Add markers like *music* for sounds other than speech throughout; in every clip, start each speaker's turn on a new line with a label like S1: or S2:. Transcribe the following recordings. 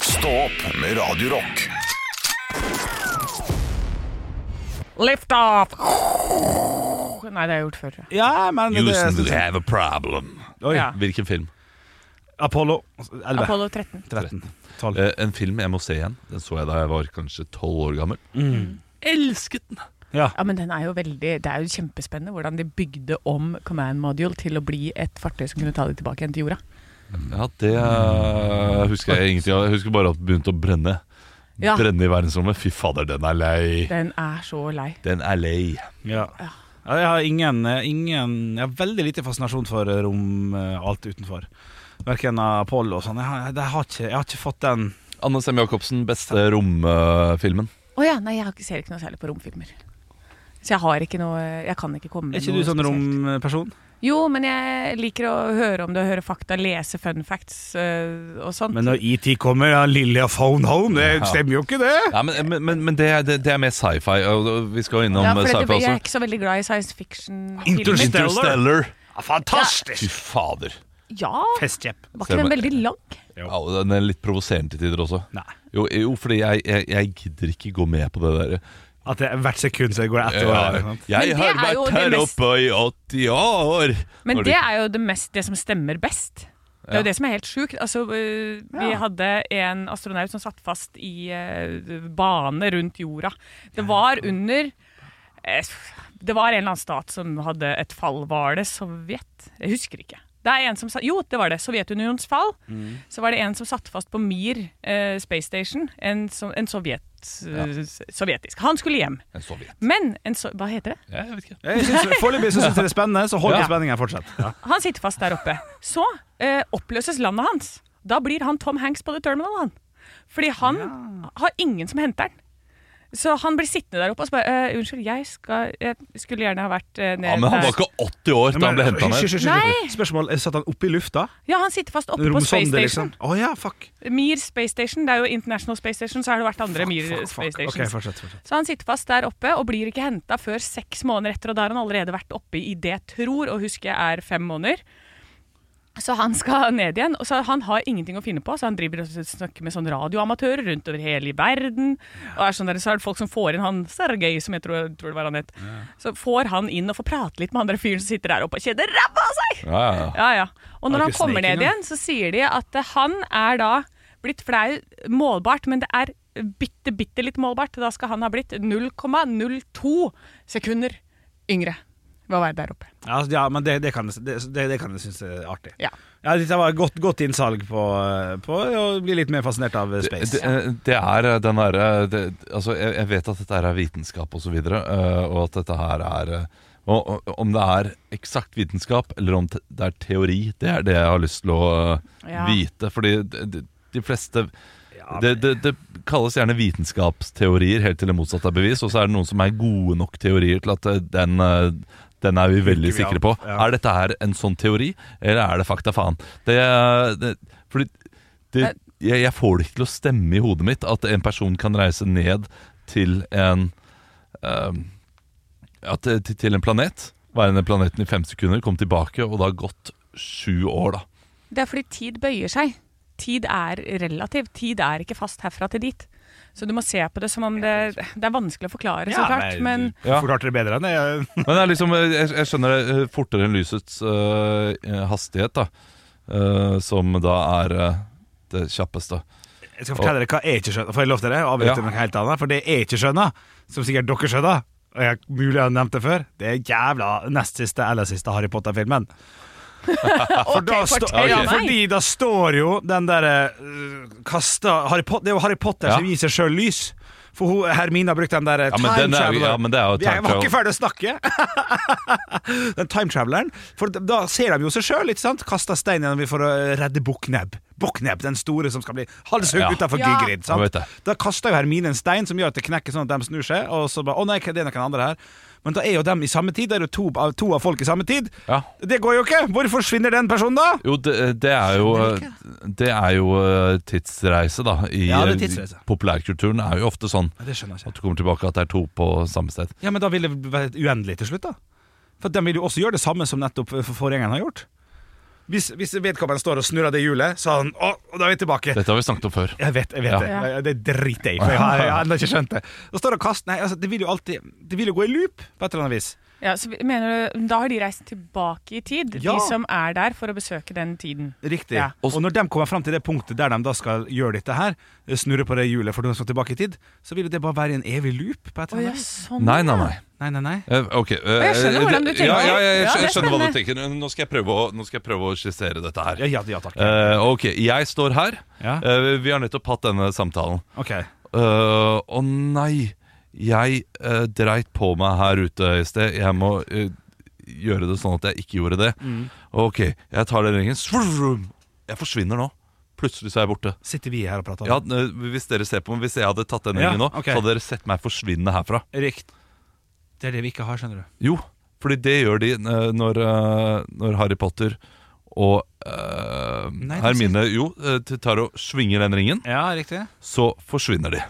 S1: Stå opp med Radio Rock.
S2: Lift off! Nei, det har jeg gjort før. tror jeg.
S3: Ja, men det, altså sånn jeg
S4: Houston,
S3: synes
S4: we have a problem.
S3: Oi,
S2: Ja.
S4: Hvilken film?
S3: Apollo 11,
S2: Apollo 13.
S3: 13, 12
S4: Eh, en film jeg må se igjen. Den så jeg da jeg var kanskje tolv år gammel. Elsket den!
S3: Ja,
S2: Ja, men den er jo veldig, Det er jo kjempespennende hvordan de bygde om Command Module til å bli et fartøy som kunne ta det tilbake igjen til jorda.
S4: Ja, det eh, husker jeg ingenting av. Jeg husker bare at det begynte å brenne.
S2: Ja,
S4: Brenne i verdensrommet. Fy fader, den er lei.
S2: Den er så lei.
S4: Den er lei.
S3: ja. Ja, Jeg har ingen, eh, ingen Jeg har veldig lite fascinasjon for rom eh, Alt utenfor Hverken Apollo og sånn jeg, har- jeg, har ikke- jeg har ikke fått den
S4: Anne Sem Jacobsen, beste romfilmen.
S2: Å ja, nei, jeg har ikke- ser ikke noe særlig på romfilmer. Så jeg har ikke noe Jeg kan ikke komme med
S3: Er ikke
S2: noe
S3: du sånn
S2: spesielt.
S3: romperson?
S2: Jo, men jeg liker å høre om det, høre fakta, lese fun facts øh, og sånt.
S3: Men når E.T. kommer, ja, Lilja phone home Det stemmer jo ikke det
S4: Ja, men, men, men, men det, er- det, det er mer sci-fi. og Vi skal jo innom
S2: ja, for
S4: sci-fi
S2: det, jeg
S4: også.
S2: er ikke så veldig glad i science fiction-filmer.
S3: Interstellar.
S4: Interstellar. Fy
S3: Fantastisk
S4: fader.
S2: Ja,
S3: Festkjepp
S2: var ikke den veldig lang?
S3: Jo.
S4: Ja, og den er litt provoserende til tider også.
S3: Nei
S4: Jo, jo fordi jeg, jeg, jeg gidder ikke gå med på det der.
S3: At det, hvert sekund så går det etter
S4: Jeg,
S3: hverandre
S4: jeg
S2: Men det
S4: har
S2: er jo
S4: vært
S2: det
S4: her
S2: mest-
S4: oppe i 80 år!
S2: Men
S4: Når
S2: det er jo det, mest, det som stemmer best. Det er jo det som er helt sjukt. Altså, øh, vi hadde en astronaut som satt fast i øh, bane rundt jorda. Det var under eh, Det var en eller annen stat som hadde et fall. Var det Sovjet? Jeg husker ikke. Det er en som sa, jo, det var det. Sovjetunionens fall. Så var det en som satt fast på Mir eh, Space Station. En, som- en sovjet, øh, sovjetisk. Han skulle hjem.
S4: En sovjet.
S2: Men en so Hva heter det?
S4: Ja, jeg vet ikke.
S3: Jeg synes, foreløpig synes jeg det er spennende Så hold på
S4: Ja.
S3: spenningen fortsatt ja.
S2: Han sitter fast der oppe. Så eh, oppløses landet hans. Da blir han Tom Hanks på The Terminal, han. Fordi han har ingen som henter han. Så han blir sittende der oppe og så bare eh, Unnskyld, jeg, skal, jeg skulle gjerne ha vært eh, nede
S4: Ja, men han
S2: der.
S4: var ikke 80 år da han ble henta
S3: Hysj,
S4: ned.
S3: hysj, hysj,
S2: Nei.
S3: hysj. Spørsmål, eh, satt han oppe i lufta?
S2: Ja, han sitter fast oppe på Space
S3: Romsonde,
S2: Station.
S3: liksom? Å ja, fuck.
S2: Mir Space Station. Det er jo International Space Station, så har det vært andre Mir
S3: fuck,
S2: Space
S3: fuck.
S2: Stations.
S3: Ok, fortsett, fortsett.
S2: Så han sitter fast der oppe og blir ikke henta før seks måneder etter. Og da har han allerede vært oppe i det jeg tror og husker jeg er fem måneder. Så han skal ned igjen. Og så han har ingenting å finne på, så han driver og snakker med sånn radioamatører rundt over hele verden. Og er sånn der, så er det folk som får inn han Sergej, som jeg tror, tror det var han het. Så får han inn og får prate litt med han der fyren som sitter der oppe og kjenner ræva av seg!
S4: Ja, ja.
S2: Ja, ja. Og når
S3: Har
S2: han
S3: ikke
S2: kommer
S3: sneken,
S2: ned
S3: ja.
S2: igjen, så sier de at eh, han er da blitt For det er jo målbart, men det er bitte, bitte litt målbart. Da skal han ha blitt 0,02 sekunder yngre ved å være der oppe.
S3: Ja, altså, ja men det, det, kan, jeg- det, det, det kan jeg synes er artig.
S2: Ja.
S3: Ja, Dette var godt, godt innsalg på, eh, på å bli litt mer fascinert av eh,
S4: Det,
S3: space.
S4: det- det er eh, den derre det- Altså, jeg, jeg vet at dette her er vitenskap og så videre, eh, og at dette her er eh, og, og, Om det er eksakt vitenskap, eller om te- det er teori, det er det jeg har lyst til å eh,
S2: Ja.
S4: vite. Fordi de, de, de fleste
S3: Ja,
S4: det, det, det kalles gjerne vitenskapsteorier helt til det motsatte er bevis, og så er det noen som er gode nok teorier til at eh, den, eh, den er vi veldig
S3: Virker vi
S4: sikre på.
S3: av, ja.
S4: Er dette her en sånn teori, eller er det fakta faen? Det, det, fordi det, jeg, jeg får det ikke til å stemme i hodet mitt at en person kan reise ned til en eh, ja, til, til- til en planet, være nede på planeten i fem sekunder, komme tilbake, og da har gått sju år, da.
S2: Det er fordi tid bøyer seg. Tid er relativ. Tid er ikke fast herfra til dit. Så du må se på det som om det Det er vanskelig å forklare, så klart, men
S3: du
S4: Ja.
S3: forklarte det bedre enn jeg.
S4: Men det er liksom, jeg, jeg skjønner det eh, fortere enn lysets eh, hastighet, da. eh, som da er eh, det kjappeste.
S3: Jeg skal fortelle dere hva jeg ikke skjønner. Får jeg lov til det? Jeg
S4: Ja.
S3: Avbryter med noe helt annet. For det jeg ikke skjønner, som sikkert dere skjønner, og jeg mulig har nevnt det før, det er jævla nest siste eller siste Harry
S2: *laughs*
S3: Potter-filmen. For da
S2: fortell
S3: stå- ja,
S2: meg.
S3: fordi da står jo den derre øh, kasta Harry Pot- Det er jo Harry Potter
S4: Ja.
S3: som gir seg sjøl lys. For hun, Hermine har brukt den der eh,
S4: Ja, men den er jo- ja, men det er jo time
S3: Jeg var
S4: travel.
S3: ikke ferdig å snakke! *laughs* den time traveleren. For d- da ser de jo seg sjøl, ikke sant? Kasta stein gjennom for å redde Bukknebb. Bukknebb, den store som skal bli halshugd
S4: Ja.
S3: utenfor
S2: Ja.
S3: Gygrid.
S4: Jeg
S3: Sant?
S4: vet det.
S3: Da kaster jo Hermine en stein som gjør at det knekker sånn at de snur seg, og så bare Å nei, det er noen andre her. Men da er jo dem i samme tid. Da er det jo to, av- to av folk i samme tid.
S4: Ja.
S3: Det går jo ikke! Hvor forsvinner den personen da?
S4: Jo, det, eh, det er jo Det er jo eh, tidsreise, da. I
S3: Ja, det
S4: eh,
S3: er tidsreise.
S4: populærkulturen er jo ofte sånn
S3: Ja, Det skjønner jeg
S4: at
S3: ikke.
S4: du kommer tilbake at det er to på samme sted.
S3: Ja, Men da vil det være uendelig til slutt, da. For de vil jo også gjøre det samme som nettopp for- forgjengeren har gjort. Hvis, hvis vedkommende står og snurrer det hjulet, så har han Å, da er vi tilbake.
S4: Dette har vi snakket om før.
S3: Jeg vet, jeg vet
S4: Ja.
S3: det.
S2: Ja.
S3: Jeg- Det driter jeg i, for jeg har, jeg har ennå ikke skjønt det. Og står og kaster Nei, altså, det vil jo alltid Det vil jo gå i loop på et eller annet vis.
S2: Ja, så vi- mener du, da har de reist tilbake i tid,
S3: Ja.
S2: de som er der for å besøke den tiden.
S3: Riktig.
S2: Ja.
S3: Og når de kommer fram til det punktet der de da skal gjøre dette her, snurre på det hjulet for de skal tilbake i tid, så vil jo det bare være en evig loop på
S2: Å
S3: et eller
S2: ja,
S3: annet vis.
S2: sånn.
S4: Nei, nei,
S2: ja.
S4: nei.
S3: Nei, nei, nei.
S4: Eh, Ok. eh,
S2: jeg skjønner hvordan du
S4: eh,
S2: tenker.
S4: Ja, ja, jeg
S2: Ja,
S4: skjø-
S2: det er
S4: skjønner hva du
S2: spennende.
S4: tenker. Nå skal jeg prøve å, nå skal jeg prøve å skissere dette her.
S3: Ja, ja, ja takk.
S4: Eh, ok, jeg står her.
S3: Ja.
S4: Eh, vi har nettopp hatt denne samtalen.
S3: Ok.
S4: Eh, Å nei, jeg eh, dreit på meg her ute i sted. Jeg må eh, gjøre det sånn at jeg ikke gjorde det.
S3: Mm.
S4: Ok, jeg tar den ringen. Svurrum! Jeg forsvinner nå. Plutselig så er jeg borte.
S3: Sitter vi her og prater?
S4: Ja, eh, hvis dere ser på meg, hvis jeg hadde tatt den
S3: Sånn. Ja,
S4: ringen nå,
S3: ok.
S4: så hadde dere sett meg forsvinne herfra.
S3: Rikt. Det er det vi ikke har, skjønner du.
S4: Jo, fordi det gjør de eh, når, eh, når Harry Potter og eh,
S3: Nei, det
S4: Hermine jo, eh, tar og svinger den ringen,
S3: Ja, riktig.
S4: så forsvinner de.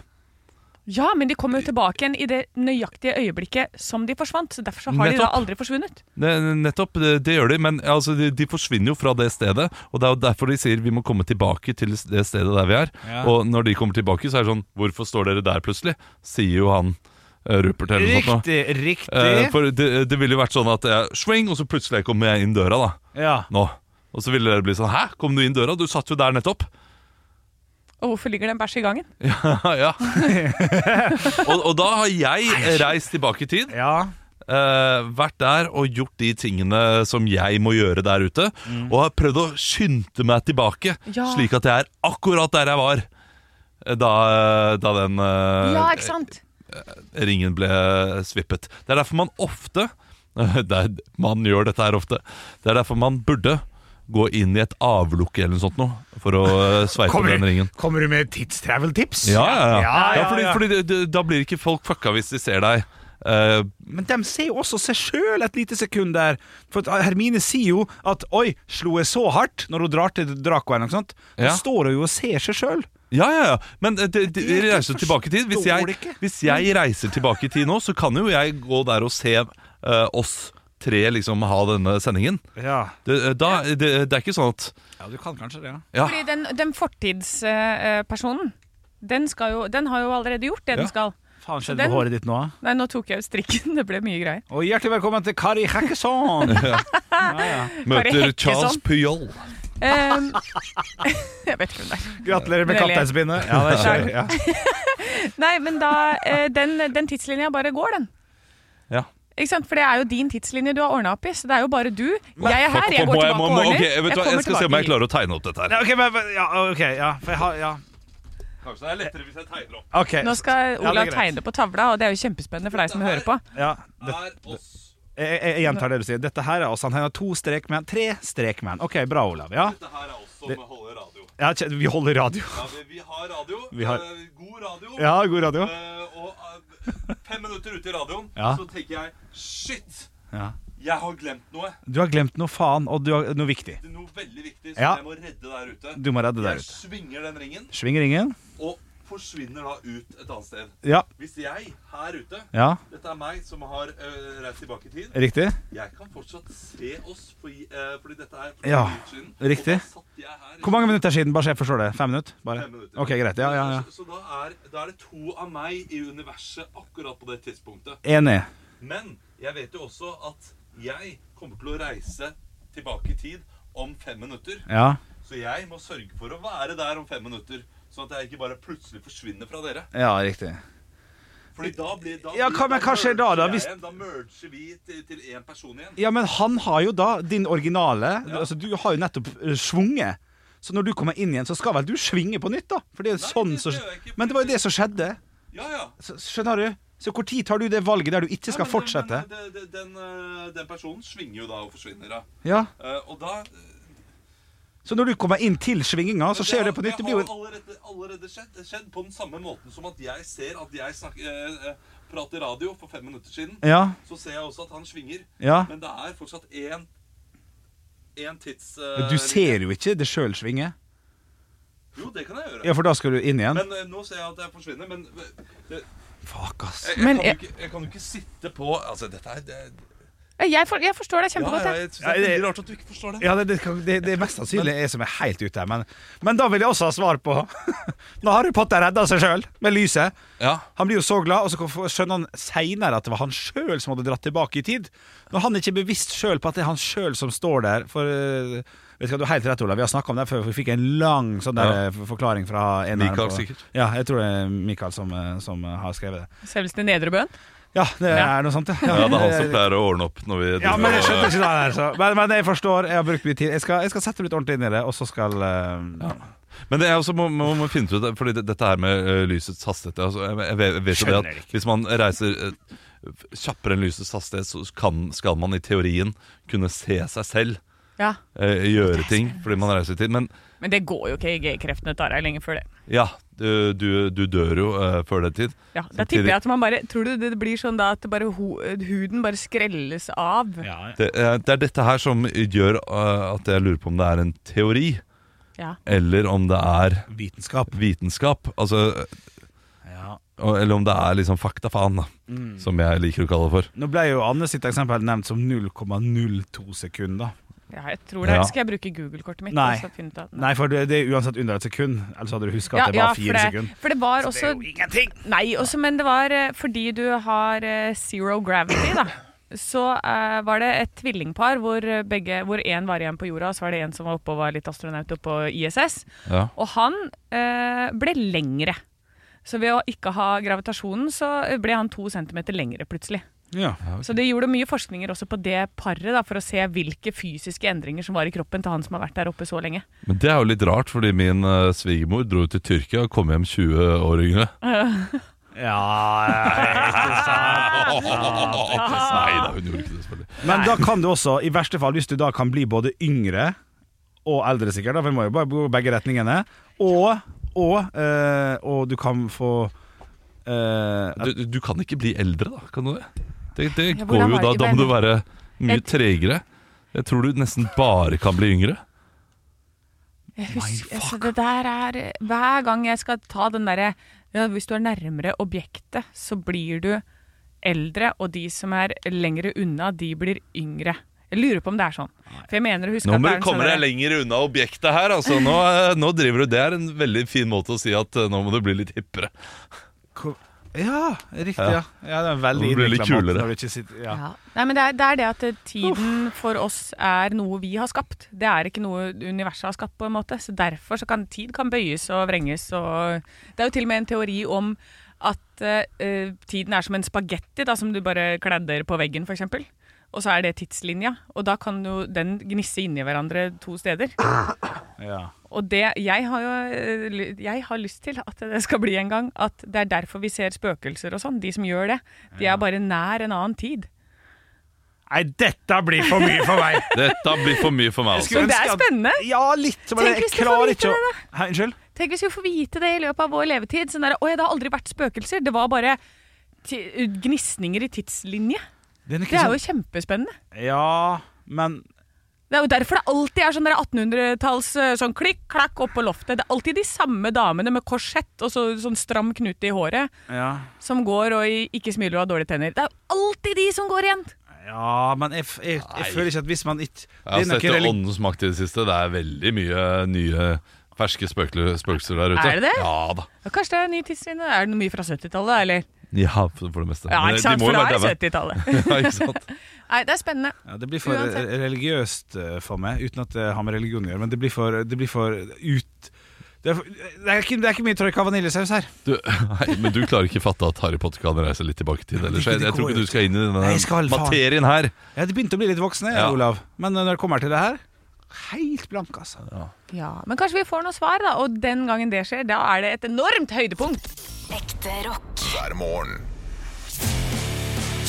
S2: Ja, men de kommer jo tilbake igjen i det nøyaktige øyeblikket som de forsvant. Så derfor så har de da
S4: Nettopp.
S2: aldri forsvunnet.
S4: Ne- Nettopp, det, det gjør de, men altså, de, de forsvinner jo fra det stedet. Og det er jo derfor de sier vi må komme tilbake til det stedet der vi er.
S3: Ja.
S4: Og når de kommer tilbake, så er det sånn Hvorfor står dere der plutselig? Sier jo han eh, Rupert eller noe sånt. nå.
S3: Riktig, riktig.
S4: Eh, for det, det ville jo vært sånn at jeg swing, og så plutselig kommer jeg inn døra, da.
S3: ja.
S4: Nå. Og så ville dere bli sånn Hæ, kom du inn døra? Du satt jo der nettopp. *laughs*
S2: Og hvorfor ligger det en bæsj i gangen?
S4: ja.
S3: *laughs*
S4: og, og da har jeg reist tilbake i tid.
S3: Ja.
S4: eh, vært der og gjort de tingene som jeg må gjøre der ute. Og har prøvd å skynde meg tilbake,
S2: Ja.
S4: slik at jeg er akkurat der jeg var eh, da, eh, da den eh,
S2: ja, ikke sant?
S4: ringen ble svippet. Det er derfor man ofte *laughs* det er, Man gjør dette her ofte. Det er derfor man burde gå inn i et avlukke eller noe sånt noe for å eh, sveipe
S3: Kommer,
S4: den
S3: du,
S4: ringen.
S3: kommer du med tidstravel-tips?
S4: Ja, ja, ja.
S3: ja, ja,
S4: Ja, fordi,
S3: ja.
S4: fordi det- det- da blir ikke folk fucka hvis de ser deg eh,
S3: Men de ser jo også seg sjøl et lite sekund der. For at eh, Hermine sier jo at 'oi, slo jeg så hardt?' når hun drar til Draco eller noe sånt. Da
S4: Ja.
S3: står hun jo og ser seg sjøl.
S4: Ja, ja, ja. Men eh, det, det,
S3: Det er ikke-
S4: reiser tilbake i tid. Hvis
S3: forstår
S4: jeg,
S3: det ikke. Mm.
S4: hvis jeg reiser tilbake i tid nå, så kan jo jeg gå der og se eh, oss tre liksom ha denne sendingen.
S3: Ja.
S4: Det, eh, da, det, det er ikke sånn at
S3: ja, du kan kanskje det. Ja.
S4: Ja,
S2: Fordi den, den fortidspersonen, den, skal jo, den har jo allerede gjort det
S4: Ja.
S2: den skal.
S3: Faen
S2: Så
S3: skjedde med
S2: den-
S3: håret ditt nå?
S2: Nei, nå tok jeg ut strikken. *laughs* Det ble mye greier.
S3: Og hjertelig velkommen til Kari
S4: *laughs*
S3: Hekkeson!
S4: møter
S2: Kari Hekkeson.
S3: sånn.
S4: Charles Pyol.
S2: Ehm, *laughs* jeg vet ikke hvem det er.
S3: Gratulerer med
S2: Veldig.
S3: kapteinspinnet. Ja, det skjer. Ja.
S2: Nei, men da eh, Den, den tidslinja bare går, den.
S4: Ja.
S2: Ikke sant? For det er jo din tidslinje du har ordna opp i, så det er jo bare du. Jeg er
S4: Fuck,
S2: her, jeg
S4: fuck, må
S2: går
S4: jeg-
S2: tilbake
S4: må-
S2: og
S4: må-
S2: ordner.
S4: ok, jeg vet hva,
S2: kommer
S4: jeg skal se om jeg
S2: tilbake
S4: klarer å tegne opp dette her.
S3: Nei, ok, men, men- ja, ok, ja, for jeg har ja.
S4: Kanskje det er lettere hvis jeg tegner opp.
S3: Ok.
S2: hit. Nå skal
S3: Ja, det
S2: Olav
S3: er greit.
S2: tegne på tavla, og det er jo kjempespennende for deg som hører på.
S3: Ja, det,
S4: Er oss.
S3: jeg, jeg, jeg gjentar det du sier. Dette her er oss. Han har to strekmenn. Tre strekmenn. Ok, bra, Olav. Ja.
S4: Dette her er oss som holder radio.
S3: ja, kje- vi holder radio.
S4: vi, har radio. Eh,
S3: Vi har-
S4: God radio.
S3: Ja, god radio.
S4: Eh, og fem minutter ute i radioen
S3: Ja. så
S4: tenker jeg Shit!
S3: Ja.
S4: Jeg har glemt noe.
S3: Du har glemt noe faen, og du har noe viktig.
S4: noe veldig viktig
S3: Ja. jeg
S4: må redde der ute.
S3: Du må redde deg ut.
S4: svinger den ringen
S3: Sving ringen.
S4: og forsvinner da ut et annet sted.
S3: Ja.
S4: Hvis jeg her ute
S3: Ja,
S4: Dette er meg som har øh, reist tilbake i tid.
S3: riktig.
S4: Jeg kan fortsatt se oss, fordi, øh, fordi dette er for
S3: Ja,
S4: minutter siden.
S3: riktig.
S4: Og da satt jeg her i
S3: Hvor mange minutter siden? Bare så jeg forstår det. Fem minutter? Bare.
S4: fem minutter.
S3: Ok, greit. Ja, ja, ja.
S4: Så, så da, er, da er det to av meg i universet akkurat på det tidspunktet.
S3: Enig.
S4: Men jeg vet jo også at jeg kommer til å reise tilbake i tid om fem minutter.
S3: Ja.
S4: Så jeg må sørge for å være der om fem minutter. Sånn at jeg ikke bare plutselig forsvinner fra dere.
S3: ja, riktig.
S4: Fordi da blir da,
S3: Ja,
S4: blir-
S3: hva- men hva skjer da,
S4: merger
S3: da,
S4: jeg
S3: hvis-
S4: igjen. Da merger vi til- til én person igjen.
S3: Ja, men han har jo da din originale Altså, du har jo nettopp eh, svunget. Så når du kommer inn igjen, så skal vel du svinge på nytt, da? For det er jo
S4: Nei,
S3: sånn
S4: det
S3: som
S4: gjør jeg ikke,
S3: Men det var jo det som skjedde.
S4: Ja, ja.
S3: Så, skjønner du? Så hvor tid tar du det valget der du ikke skal
S4: Ja, men-
S3: fortsette?
S4: men, eh, det- det- den, eh, den personen svinger jo da og forsvinner. Da.
S3: Ja.
S4: Eh, og da eh,
S3: Så når du kommer inn til svinginga, så skjer
S4: har-
S3: det på nytt. Det
S4: Det
S3: blir jo
S4: har
S3: en
S4: allerede, allerede skjedd, skjedd på den samme måten som at jeg ser at jeg snakker, eh, eh, prater radio for fem minutter siden.
S3: Ja.
S4: Så ser jeg også at han svinger.
S3: Ja.
S4: Men det er fortsatt én Én tids...
S3: Men
S4: eh,
S3: Du ser jo ikke det sjøl svinge.
S4: Jo, det kan jeg gjøre.
S3: Ja, for da skal du inn igjen.
S4: Men eh, nå ser jeg at jeg forsvinner, men eh, det,
S3: Fuck, ass.
S4: jeg, jeg,
S2: Men
S3: Eh,
S4: kan jo
S2: jeg-
S4: ikke, jeg kan jo ikke sitte på Altså, dette er det,
S2: Eh, Jeg, for, jeg forstår deg
S4: Ja,
S2: kjempegodt.
S4: ja,
S2: jeg.
S4: jeg synes det er veldig rart at du ikke forstår det.
S3: Ja, det, det, kan- det, det er mest sannsynlig jeg som er helt ute her, men, men da vil jeg også ha svar på *laughs* Når Harry Potter redda seg sjøl med lyset
S4: Ja,
S3: Han blir jo så glad, og så kan- skjønner han seinere at det var han sjøl som hadde dratt tilbake i tid. Når han ikke er bevisst sjøl på at det er han sjøl som står der For eh, vet du hva, du har helt rett, Olav. Vi har snakka om det før, for vi fikk en lang sånn der
S4: Ja.
S3: eh, forklaring fra en av dem
S4: Mikael,
S3: på-
S4: sikkert.
S3: Ja, jeg tror det er Mikael som, eh, som eh, har skrevet det.
S2: Selveste Nedrebøen.
S3: Ja, det
S2: Ja.
S3: er noe sånt,
S4: ja det er han som pleier å ordne opp når vi
S3: Ja, men jeg skjønte ikke det der. Så. Men, men jeg forstår. Jeg har brukt mye tid. Jeg skal, jeg skal sette meg litt ordentlig inn i det, og så skal eh,
S4: Men det er også, må, må, må finne ut av det, Fordi det- dette her med ø, lysets hastighet altså, jeg, jeg, vet- jeg vet jo det
S3: Skjønner det
S4: at Hvis man reiser ø, f- kjappere enn lysets hastighet Så kan, skal man i teorien kunne se seg selv
S2: Ja.
S4: ø, eh, Gjøre ting fordi man reiser i tid Men
S2: Men det går jo ikke i G-kreftene tar deg lenge før det.
S4: ja, du, du, du dør jo ø, før den tid
S2: Ja, da
S4: Samtidig-
S2: tipper jeg at man bare Tror du det blir sånn da at det bare ho huden bare skrelles av?
S3: ja, ja.
S4: det, er- det er dette her som gjør ø, at jeg lurer på om det er en teori
S2: Ja.
S4: Eller om det er
S3: Vitenskap.
S4: vitenskap Altså,
S3: Ja.
S4: ø, eller om det er liksom faktafaen da Som jeg liker å kalle det for
S3: Nå ble jo Anne sitt eksempel nevnt som 0,02 sekunder.
S2: ja, jeg tror det.
S4: Ja.
S2: Skal jeg bruke Google-kortet mitt?
S3: Nei.
S2: og så finne ut at-
S3: Nei, for det, det er uansett under et sekund. Ellers hadde du huska
S2: Ja,
S3: at det
S2: ja,
S3: var
S2: for
S3: fire
S2: det,
S3: sekunder.
S2: for det var også
S3: ingenting!
S2: Nei, også, men det var eh, fordi du har eh, zero gravity, da. Så eh, var det et tvillingpar hvor eh, begge, hvor én var igjen på jorda, og så var det en som var oppe og var litt astronaut oppe på ISS.
S4: Ja
S2: Og han eh, ble lengre. Så ved å ikke ha gravitasjonen, så ble han to centimeter lengre plutselig.
S3: Ja.
S2: Så det gjorde mye forskninger også på det paret, da, for å se hvilke fysiske endringer som var i kroppen til han som har vært der oppe så lenge.
S4: Men det er jo litt rart, fordi min eh, svigermor dro til Tyrkia og kom hjem 20 år yngre.
S2: *laughs*
S4: Nei da, hun gjorde ikke det, selvfølgelig.
S3: Men da kan du også, i verste fall, hvis du da kan bli både yngre og eldre, sikkert, da, for vi må jo bare gå begge retningene, og, og, eh, og du kan få eh,
S4: Du, du- du kan ikke bli eldre, da. Kan du det? Det, det
S2: Ja, hvordan
S4: går jo
S2: var det
S4: da
S2: ikke
S4: Da må du være mye
S2: Jeg-
S4: tregere. Jeg tror du nesten bare kan bli yngre.
S2: Jeg husker, altså, det der er Hver gang jeg skal ta den derre ja, Hvis du er nærmere objektet, så blir du eldre, og de som er lengre unna, de blir yngre. Jeg lurer på om det er sånn. For jeg mener å huske
S4: Nå
S2: at
S4: må
S2: det
S4: du
S2: er en
S4: komme
S2: sånn
S4: deg
S2: derre-
S4: lenger unna objektet her. Altså, nå, eh, nå driver du Det er en veldig fin måte å si at eh, nå må du bli litt hippere.
S3: ko- Ja, riktig. Ja. ja det er en veldig
S4: Det blir litt
S3: innviklet måte
S4: kulere.
S3: når du ikke sitter ja.
S2: Ja. Nei, men det er, det er det at eh, tiden for oss er noe vi har skapt. Det er ikke noe universet har skapt, på en måte. Så derfor så kan tid kan bøyes og vrenges og Det er jo til og med en teori om at eh, eh, tiden er som en spagetti da, som du bare kladder på veggen, f.eks. Og så er det tidslinja, og da kan jo den gnisse inni hverandre to steder.
S3: Ja.
S2: Og det jeg har jo eh, ly- jeg har lyst til at det skal bli en gang, at det er derfor vi ser spøkelser og sånn. De som gjør det, de er bare nær en annen tid.
S3: Nei, dette blir for mye for
S2: *laughs*
S3: meg!
S4: Dette blir for mye for meg, altså.
S2: skulle- Men det er spennende.
S3: Ja, litt. Men
S2: Tenk
S3: jeg
S2: hvis du får
S3: klarer
S2: vite
S3: ikke å
S2: det,
S3: Hæ, Unnskyld?
S2: Tenk hvis vi får vite det i løpet av vår levetid. Sånn der, Oi, det har aldri vært spøkelser. Det var bare ti- uh, gnisninger i tidslinje.
S3: Den ikke
S2: Det er
S3: sånn-
S2: jo kjempespennende.
S3: Ja, men
S2: Det er jo derfor det alltid er sånn der 1800-talls eh, sånn klikk, klakk opp på loftet. Det er alltid de samme damene med korsett og så, sånn stram knute i håret
S3: Ja,
S2: som går og i- ikke smiler og har dårlige tenner. Det er jo alltid de som går igjen.
S3: ja men jeg, f- jeg,
S4: Nei. altså,
S3: jeg føler ikke at hvis man ikke
S4: Jeg har
S3: det er nok
S4: sett det
S3: relig-
S4: åndens makt i det siste. Det er veldig mye eh, nye ferske spøkel- spøkelser der ute.
S2: Er det det?
S4: Ja da.
S2: Ja, Kanskje det er en ny tidslinje. Er det noe mye fra 70-tallet, eller?
S4: Ja, for, for det meste.
S2: Ja,
S4: Men
S2: ikke sant?
S4: De må
S2: For
S4: jo
S2: det
S4: være
S2: er
S4: daue.
S2: 70-tallet.
S4: *laughs* Ja, ikke sant?
S2: Nei, det er spennende.
S3: ja, Det blir for
S2: Uansett.
S3: re- religiøst eh, for meg, uten at det har med religion å gjøre, men det blir for, det blir for ut det er, for- det, er ikke, det er ikke mye troika vaniljesaus her.
S4: Du, *laughs* nei, men du klarer ikke fatte at Harry Potter kan reise litt tilbake i tid. Ellers. Jeg, jeg tror ikke du skal inn i denne
S3: Nei, jeg skal, faen.
S4: materien her.
S3: Jeg hadde begynt å bli litt voksen, jeg,
S4: Ja.
S3: Olav. Men eh, når det kommer til det her Helt blank, altså.
S2: Ja, Men kanskje vi får noe svar, da. Og den gangen det skjer, da er det et enormt høydepunkt.
S5: Ekte rock.
S1: hver morgen.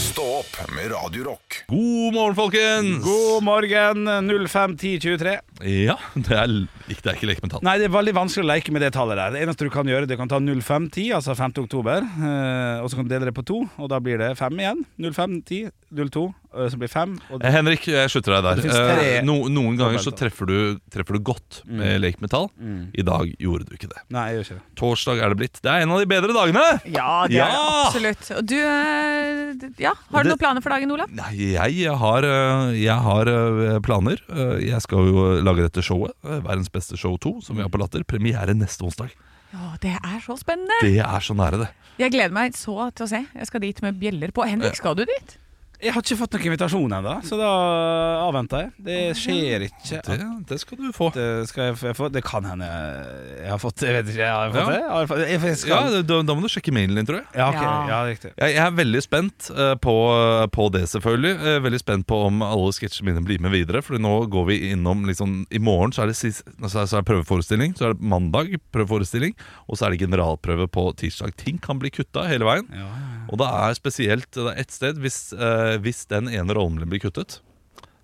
S1: Stå opp med Radio Rock.
S4: God morgen, folkens!
S3: God morgen 05.10.23.
S4: Ja, det er, l- ikke, det er ikke lek med tall.
S3: Nei, det er veldig vanskelig å leke med det tallet der. Det eneste du kan gjøre, du kan ta 0510, altså 5. oktober, eh, og så kan du dele det på to, og da blir det fem igjen. 0510, 02, eh, som blir fem. Og
S4: Eh, Henrik, jeg slutter deg
S3: Det
S4: der.
S3: finnes tre-
S4: Eh, no, noen ganger så
S3: Momenter.
S4: treffer du, treffer du godt
S3: Mm.
S4: med leikmetall. I dag gjorde du ikke det.
S3: Nei, jeg gjør ikke det.
S4: Torsdag er det blitt. Det er en av de bedre dagene!
S2: Ja, det er det
S4: Ja!
S2: absolutt. Og du eh, d- Ja, har du
S4: Det-
S2: noen planer for dagen, Olav?
S4: Nei, jeg har, eh, jeg har eh, planer. Eh, Jeg skal jo lage dette showet. eh, Verdens beste show 2, som vi har på Latter. Premiere neste onsdag.
S2: Ja, det er så spennende!
S4: Det er så nære, det.
S2: Jeg gleder meg så til å se. Jeg skal dit med bjeller på. Henrik, skal du dit?
S3: Jeg har ikke fått noen invitasjon ennå, så da avventer jeg. Det skjer ikke.
S4: Det, det skal du få.
S3: At, eh, skal jeg, f- jeg få Det kan hende jeg har fått Jeg vet ikke, jeg har fått
S4: Ja.
S3: det? Har jeg fått, jeg, jeg
S4: Ja,
S3: skal, ja,
S4: da, da må du sjekke mailen din, tror jeg.
S3: ja, ok,
S2: Ja.
S3: ja, riktig.
S4: Jeg, jeg er veldig spent eh, på, på det, selvfølgelig. Eh, veldig spent på om alle sketsjene mine blir med videre. Fordi nå går vi innom liksom, I morgen så er det sist, så er, så er det prøveforestilling. Så er det mandag prøveforestilling. Og så er det generalprøve på tirsdag. Ting kan bli kutta hele veien.
S3: Ja, ja, ja.
S4: Og det er spesielt det er ett sted hvis, eh, hvis den ene rollen min blir kuttet.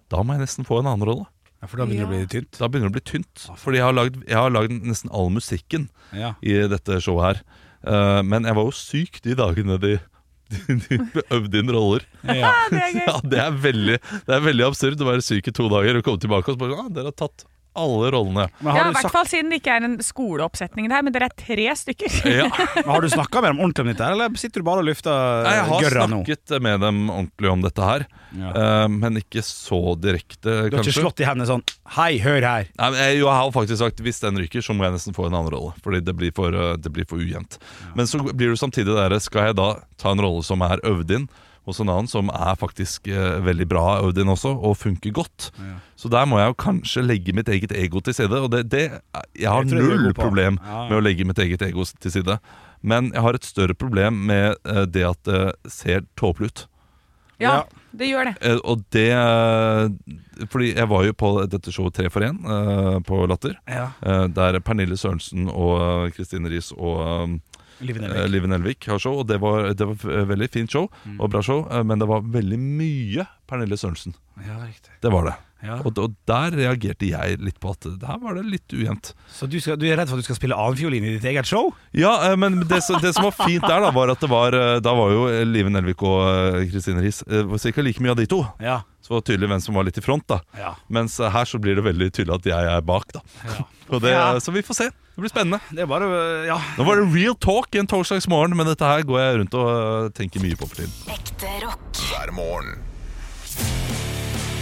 S4: Da må jeg nesten få en annen rolle.
S3: ja, for da begynner det å
S2: Ja.
S3: bli tynt.
S4: Da begynner det å bli tynt. Fordi jeg har lagd, jeg har lagd nesten all musikken
S3: Ja.
S4: i dette showet her. Eh, men jeg var jo syk de dagene de, de, de øvde inn roller.
S3: Ja.
S2: Ja, det er
S4: *laughs*
S2: gøy.
S4: Ja, det er veldig, det er veldig absurd å være syk i to dager og komme tilbake og så bare sånn, ah, dere har tatt alle rollene.
S3: Men
S2: Ja,
S3: har,
S2: I
S3: du
S2: hvert
S3: sagt,
S2: fall siden det ikke er en skoleoppsetning der, men dere er tre stykker.
S3: *laughs*
S4: Ja.
S3: men har du snakka med dem ordentlig om dette, her, eller sitter du bare og lufter
S4: Nei, Jeg har
S3: gørra nå?
S4: snakket med dem ordentlig om dette her,
S3: Ja.
S4: eh, men ikke så direkte,
S3: Du har ikke
S4: kanskje.
S3: slått i hendene sånn Hei, hør her.
S4: Nei, men jeg, jo, jeg har faktisk sagt Hvis den ryker, så må jeg nesten få en annen rolle. Fordi det blir for, eh, det blir for ujevnt. Men så blir det samtidig der Skal jeg da ta en rolle som er øvd inn hos en annen som er faktisk eh, veldig bra øvd inn også, og funker godt? Så der må jeg jo kanskje legge mitt eget ego til side. Og det, det, jeg har
S3: Det tror jeg du er
S4: null
S3: god på.
S4: problem
S3: Ja, ja.
S4: med å legge mitt eget ego til side. Men jeg har et større problem med eh, det at det ser tåpelig ut.
S2: *laughs* Ja, det gjør det.
S4: Eh, Og det eh, Fordi jeg var jo på dette showet Tre for én eh, på Latter.
S3: Ja.
S4: Eh, Der Pernille Sørensen og Kristine Riis og
S3: Livet
S4: eh,
S3: ned.
S4: Live Nelvik har show. Og det var, det var et veldig fint show
S3: Mm.
S4: og bra show, eh, men det var veldig mye Pernille Sørensen.
S3: Ja, riktig.
S4: Det var det.
S3: Ja.
S4: Og, og der reagerte jeg litt på at det her var det litt ujevnt.
S3: Så du, skal, du er redd for at du skal spille annenfiolin i ditt eget show?
S4: Ja, eh, men det, som- det som var fint der, da, var at det var eh, Da var jo eh, Live Nelvik og eh, Kristine Riis eh, var cirka like mye av de to.
S3: Ja.
S4: Så det var tydelig hvem som var litt i front, da.
S3: ja.
S4: Mens eh, her så blir det veldig tydelig at jeg er bak, da. *laughs* Og det,
S3: Ja.
S4: Så vi får se. Det blir spennende.
S3: Det er bare Ja.
S4: Nå var det real talk en torsdagsmorgen, men dette her går jeg rundt og øh, tenker mye på for tiden.
S5: Ekte rock.
S1: hver morgen.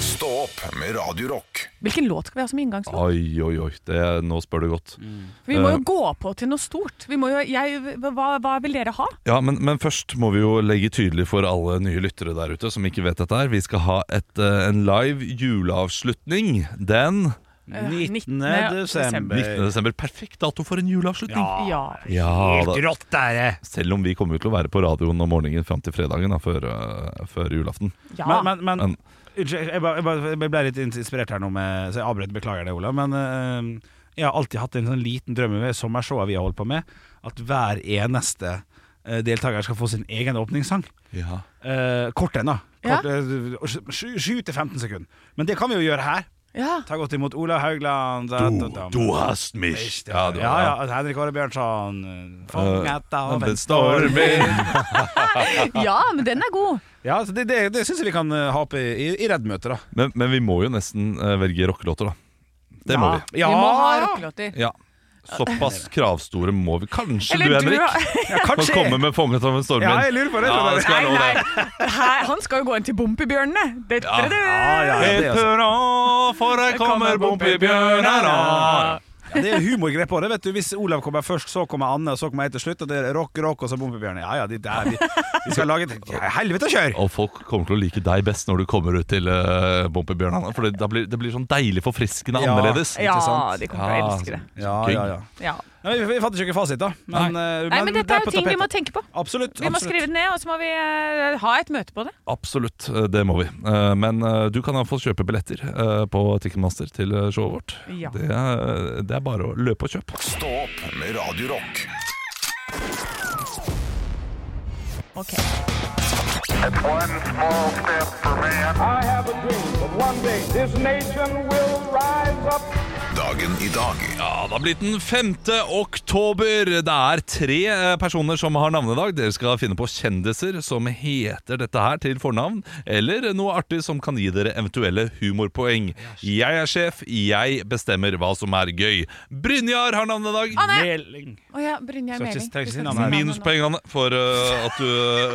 S1: Stå opp med Radio Rock.
S2: Hvilken låt skal vi ha som inngangslåt?
S4: Oi, oi, oi. Det, nå spør du godt.
S2: Vi må
S4: eh.
S2: jo gå på til noe stort. Vi må jo, jeg, hva, hva vil dere ha?
S4: Ja, men, men først må vi jo legge tydelig for alle nye lyttere der ute som ikke vet dette her. Vi skal ha et, øh, en live juleavslutning den
S2: Eh,
S3: 19.
S2: 19.
S3: desember.
S4: 19. desember. Perfekt dato for en juleavslutning.
S3: Ja.
S2: Ja.
S4: Ja, da.
S3: Helt rått er det!
S4: Selv om vi kommer jo til å være på radioen om morgenen fram til fredagen da, før, øh, før julaften.
S2: ja.
S3: Men, men, men,
S4: Men-
S3: Unnskyld, jeg, ba- jeg, ba- jeg ble litt inspirert her nå, med, så jeg avbrøt. Beklager det, Ola. Men eh, jeg har alltid hatt en sånn liten drøm med sommershowene vi har holdt på med, at hver eneste eh, deltaker skal få sin egen åpningssang.
S4: Ja.
S3: Eh, kort en, da.
S2: Ja.
S3: Kort, eh, sju- sju til 15 sekunder. Men det kan vi jo gjøre her.
S2: ja.
S3: Ta godt imot Ola Haugland.
S4: Oh, hast mich. Ja, du,
S3: ja, ja, Henrik Åre Bjørnson. eh, Fanget av en storm.
S4: storm.
S2: ja, men den er god.
S3: Ja, så det det, det syns jeg vi kan eh, ha opp i, i, i Redd-møtet, da.
S4: Men, men vi må jo nesten eh, velge rockelåter, da. Det må vi.
S2: Vi må ha rockelåter.
S4: Ja. Såpass kravstore må vi. Kanskje
S2: Eller
S4: du,
S2: du,
S4: Henrik,
S2: har-
S3: Ja,
S4: kan komme med 'Fanget av en
S3: Ja,
S4: stormvind'.
S3: jeg lurer på det.
S4: Ja,
S3: skjønner
S4: det
S3: du.
S4: skal jeg love deg.
S2: Her- Han skal jo gå inn til Bompibjørnene. Det-
S4: Ja.
S2: det- det-
S3: Ja, ja, ja, det,
S4: Et
S3: altså.
S4: hurra, for her kommer Bompibjørnar.
S3: Ja, det er humorgrep på det. vet du Hvis Olav kommer først, så kommer Anne, og så kommer jeg til slutt. Og det er rock, rock, og så Bompebjørn. Ja, ja, de der, vi, vi skal lage et
S4: *laughs*
S3: ja, helvete å kjøre!
S4: Og folk kommer til å like deg best når du kommer ut til uh, Bompibjørnene. For det, da blir, det blir sånn deilig forfriskende
S3: Ja.
S4: annerledes.
S3: Ikke
S2: Ja,
S3: sant? Ah.
S2: de kommer til å elske det.
S3: Ja, ja, ja.
S2: Ja.
S3: Nei, vi, vi fant ikke fasit, da. Men, eh,
S2: Nei, men dette er
S3: på
S2: jo ting vi må
S3: tapetet.
S2: tenke på.
S3: Absolutt.
S2: Vi må
S3: absolutt.
S2: skrive det ned, og så må vi eh, ha et møte på det.
S4: Absolutt, eh, det må vi. Eh, Men eh, du kan iallfall kjøpe billetter eh, på Ticketmaster til eh, showet vårt.
S2: Ja.
S4: Det, er, det er bare å løpe og kjøpe.
S1: Stå opp med Radio Rock.
S2: Ok.
S6: One small step for man.
S7: I have a dream that one day this nation will rise up.
S1: Dag dagen i dag.
S4: Ja, Det har blitt den 5. oktober. Det er tre eh, personer som har navnedag. Dere skal finne på kjendiser som heter dette her til fornavn, eller noe artig som kan gi dere eventuelle humorpoeng. Jeg er sjef, jeg bestemmer hva som er gøy. Brynjar har navnedag.
S2: Anne!
S3: Meling.
S2: Å ja, Brynjar
S3: Så ikke-
S2: Meling. Du
S3: trenger ikke si
S2: skal ikke
S3: navnet her.
S2: navnet nå.
S4: Minuspoeng, Anne, for eh, at du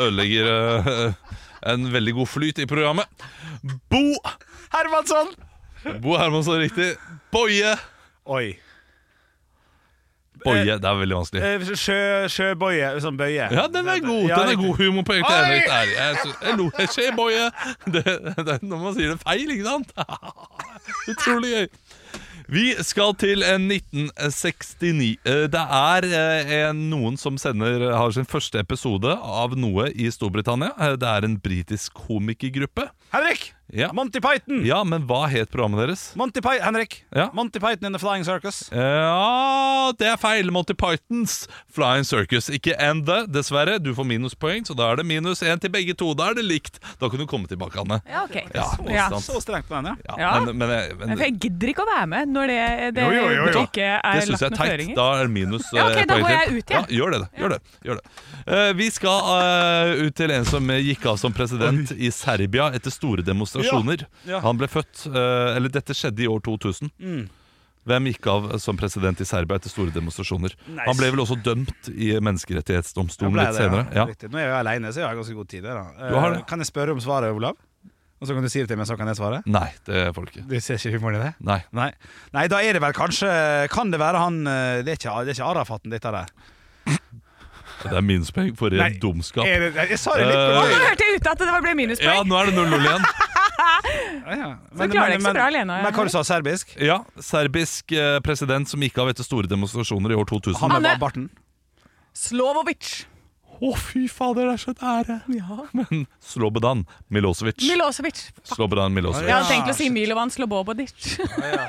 S4: ødelegger eh, en veldig god flyt i programmet. Bo
S3: Hermansson!
S4: Bo Hermansson, riktig. Boje.
S3: Oi.
S4: Boje, det er veldig vanskelig.
S3: Eh, sjø, sjøbøye, sånn bøye.
S4: Ja, den er god. Den er god humor på ekte.
S3: Oi!
S4: Jeg, jeg, jeg, jeg lo jeg skjer, boje. Det, det er når man sier det feil, ikke sant? *laughs* Utrolig gøy. Vi skal til eh, 1969. Eh, Det er eh, en, noen som sender, har sin første episode av noe i Storbritannia. Eh, Det er en britisk komikergruppe.
S3: Henrik!
S4: Ja.
S3: Monty Python!
S4: ja, men hva het programmet deres?
S3: Monty Py Henrik.
S4: Ja.
S3: Monty Python and the Flying Circus.
S4: Ja, det er feil. Monty Pythons Flying Circus. Ikke and the, dessverre. Du får minuspoeng, så da er det minus én til begge to. Da er det likt. Da kan du komme tilbake, Anne.
S2: Ja, ok.
S4: Ja,
S2: Ja.
S4: ikke sant.
S3: Så strengt på den, ja.
S4: Ja,
S2: Ja.
S4: Men, men, jeg- men
S2: Men for
S4: det
S2: jeg gidder ikke å være med når det, det
S3: Jo, jo, jo, jo.
S2: ikke er
S4: det syns jeg
S2: lagt
S4: er
S2: noen
S4: teit.
S2: føringer.
S4: Da er det minus
S2: Ja, ok,
S4: eh,
S2: da
S4: poeng
S2: går
S4: til.
S2: jeg ut igjen.
S4: Ja, gjør det, da. gjør det, gjør det. Eh, vi skal eh, ut til en som eh, gikk av som president i Serbia etter store demonstrasjoner.
S3: Ja, ja.
S4: Han ble født eh, Eller dette skjedde i år 2000.
S2: Mm.
S4: Hvem gikk av som president i Serbia etter store demonstrasjoner?
S3: Nice.
S4: Han ble vel også dømt i menneskerettighetsdomstolen
S3: ble
S4: litt
S3: det,
S4: senere. Ja.
S3: Riktig. Nå er jeg alene, så jeg har ganske god tid. Der, da.
S4: Du har
S3: Eh,
S4: det.
S3: Kan jeg spørre om svaret, Olav? Og så kan du si det til meg, så kan jeg svare?
S4: Nei, det får du ikke.
S3: Du ser ikke humoren i det?
S4: Nei.
S3: Nei. Nei, da er det vel kanskje Kan det være han eh, Det er ikke, det er ikke Arafaten, dette der.
S4: Det er minuspoeng for
S3: Nei,
S4: ren dumskap.
S3: Er det, jeg sa det litt
S4: Eh,
S3: på
S2: Nå
S3: gøy.
S2: hørte jeg ute at det ble
S4: Ja,
S2: minuspoeng.
S4: nå er det 0-0 igjen.
S3: Ja, ja.
S2: klarer jeg ikke så bra alene, jeg.
S3: Men, men hva du sa serbisk?
S4: Ja, Serbisk eh, president som gikk av etter store demonstrasjoner i år 2000.
S3: Han med
S2: Anne.
S3: bar- barten?
S2: Slovovic.
S4: Å, fy fader, det er så et ære! Men Slobodan Milosevic.
S2: Milosevic.
S4: Slobodan Milosevic.
S2: Jeg hadde tenkt å si Milovan Slobobodic.
S4: Eh,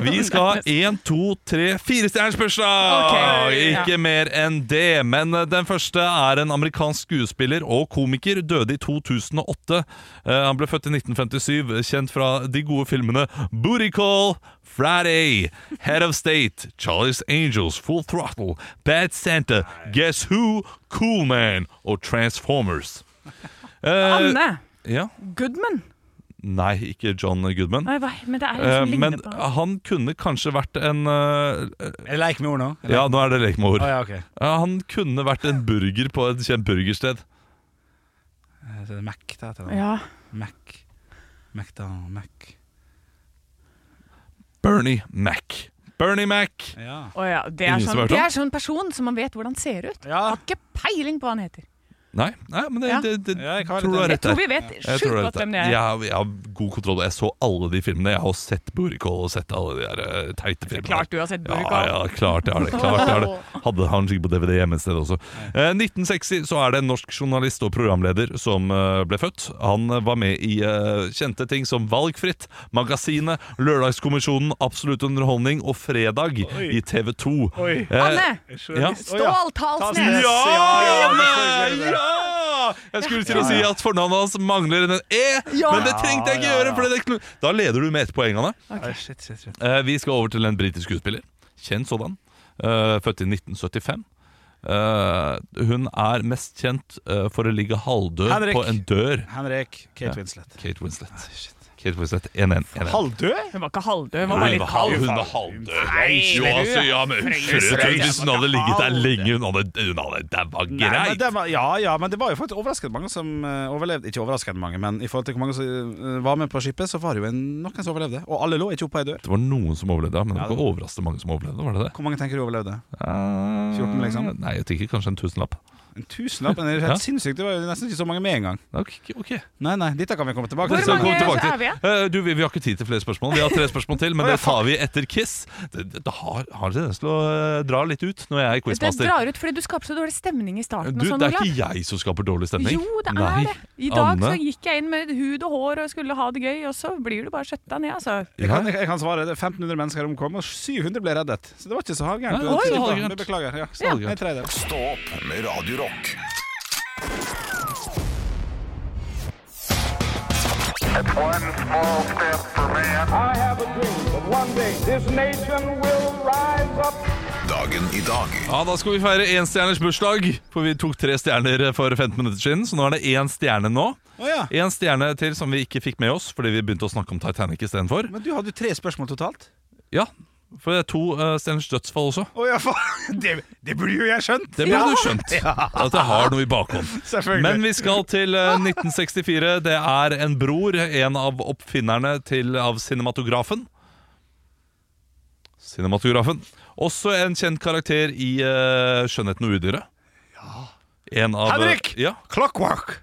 S4: Vi skal ha én, to, tre, fire stjerners bursdag!
S2: Sånn Ok, ja.
S4: Ikke mer enn det. Men eh, den første er en amerikansk skuespiller og komiker. Døde i 2008. Eh, Han ble født i 1957, kjent fra de gode filmene Booty Call, Friday, Head of State, Charlie's Angels, Full Throttle, Bad Santa, Guess Who, Cool Man og Transformers. Eh,
S2: *laughs* Anne
S4: Ja?
S2: Goodman.
S4: Nei, ikke John Goodman.
S2: Nei, hva, men det er
S4: Eh,
S2: liksom
S4: Men
S2: lignende på han.
S4: han kunne kanskje vært en eh,
S3: Er det leik med ord nå? Eller?
S4: ja, nå er det lek med ord.
S3: Å, ja, ok.
S4: Ja, han kunne vært en burger på et kjent burgersted.
S3: Eh, så det er Mac, det heter det.
S2: Ja.
S3: Mac. McDonald, Mac.
S4: Bernie Mac. Bernie Mac.
S3: Ja.
S2: Å ja. Det er
S4: Ingen som
S2: sånn
S4: har hørt
S2: det
S4: om?
S2: er sånn person som man vet hvordan ser ut.
S3: ja.
S2: Har ikke peiling på hva han heter.
S4: Nei, nei men det,
S2: Ja.
S4: det, det
S3: Ja, jeg kan ha
S4: tror du har
S3: litt
S2: Jeg
S4: rett
S2: tror
S4: der.
S2: vi vet
S4: Jeg
S2: sjukt
S4: tror du har
S2: godt
S4: rett
S2: hvem
S4: der.
S2: det
S4: Jeg
S2: er.
S4: har, jeg har god kontroll. Jeg så alle de filmene. Jeg har sett Burikål og sett alle de der eh, teite filmene.
S2: Klart du har sett
S4: Ja,
S2: Burkal.
S4: ja, klart jeg har det. klart jeg har
S3: *laughs*
S4: det Hadde han sikkert på DVD hjemme et sted også. Eh, 1960 så er det en norsk journalist og programleder som eh, ble født. Han eh, var med i eh, kjente ting som Valgfritt, Magasinet, Lørdagskommisjonen, Absolutt underholdning og Fredag
S3: Oi.
S4: i TV 2.
S3: Oi.
S2: Anne!
S4: Eh, Ja.
S2: Stål Talsnes!
S3: Talsnes.
S4: Ja!
S3: Ja,
S4: Janne!
S3: selvfølgelig.
S4: Ja! Jeg skulle til å si at fornavnet hans mangler en E,
S2: Ja.
S4: men det trengte jeg ikke
S3: Ja, ja,
S4: gjøre.
S3: ja.
S4: For det er ikke- da leder du med ett poeng, Anne.
S3: Oi, Shit, shit, shit.
S4: Eh, Vi skal over til en britisk skuespiller. Kjent sådan. Eh, født i 1975. Eh, hun er mest kjent eh, for å ligge halvdød
S3: Henrik.
S4: på en dør.
S3: Henrik
S4: Ja.
S3: Kate Winslet.
S4: Kate Winslet. Kate Winslet, 1-1. 1-1.
S3: Halvdød?
S2: Hun var ikke halvdød, hun
S4: Hun
S2: var bare
S4: var
S2: litt
S4: halv-
S2: halv.
S4: Hun var halvdød.
S3: Nei,
S4: Jo,
S3: men du-
S4: altså, ja, men frøken, hvis hun hadde ligget der lenge, hun hadde, hun hadde Det var
S3: Nei, men
S4: greit.
S3: det var, ja, ja, men det var jo faktisk overraskende mange som eh, overlevde. Ikke overraskende mange, men i forhold til hvor mange som eh, var med på skipet, så var det jo en, noen som overlevde. Og alle lå ikke oppe ei dør.
S4: Det var noen som overlevde, men det
S3: Ja,
S4: var
S3: det-
S4: ikke overraskende mange som overlevde. var det det?
S3: Hvor mange tenker du overlevde?
S4: Eh,
S3: 14 liksom?
S4: Nei, jeg tenker kanskje en tusenlapp.
S3: En tusenlapp? Men det er
S4: Ja.
S3: helt sinnssykt. Det var jo nesten ikke så mange med en gang.
S4: Ok, ok.
S3: Nei, nei, dette kan vi komme tilbake
S2: Hvor
S4: Så kom
S2: mange
S4: tilbake til-
S2: er vi?
S4: Eh, Du, vi, vi har ikke tid til flere spørsmål. Vi har tre spørsmål til, men
S3: Å, ja,
S4: det tar vi etter Kiss. Det, det, det har, har tendens til å eh, dra litt ut når jeg er
S2: Det
S4: quizmaster.
S2: drar ut fordi du skaper så dårlig stemning i starten.
S4: Du,
S2: og sånn,
S4: det er
S2: Olav.
S4: ikke jeg som skaper dårlig stemning.
S2: Jo, det er
S4: Nei.
S2: det. I dag
S4: Anne.
S2: så gikk jeg inn med hud og hår og skulle ha det gøy, og så blir du bare skjøtta ned, altså.
S3: Jeg kan, jeg, jeg kan svare. det er 1500 mennesker omkom, og 700 ble reddet. Så det var ikke så
S4: Nei,
S3: halvgærent.
S4: det var ikke så
S3: Tidlig på.
S4: halvgærent.
S3: Men Beklager. Ja,
S4: Ja.
S3: en tredjedel.
S1: Stå opp med Radio Rock.
S6: It's one small step for man.
S5: I have a dream that one day this nation will rise up.
S1: Dagen i dag
S4: Ja, Da skal vi feire énstjerners bursdag, for vi tok tre stjerner eh, for 15 minutter siden. Så nå er det én stjerne nå.
S3: Å ja.
S4: Én stjerne til som vi ikke fikk med oss fordi vi begynte å snakke om Titanic istedenfor.
S3: Men du hadde jo tre spørsmål totalt.
S4: Ja, for det er to eh, stjerners dødsfall også.
S3: Å ja, faen. *laughs* Det, det burde jo jeg skjønt.
S4: Det burde du skjønt. At jeg har noe i bakhånd.
S3: Selvfølgelig.
S4: Men vi skal til eh, 1964. Det er en bror, en av oppfinnerne til, av cinematografen. Cinematografen. Også en kjent karakter i eh, 'Skjønnheten og udyret'. En av,
S3: Henrik!
S4: Ja,
S3: Clockwork.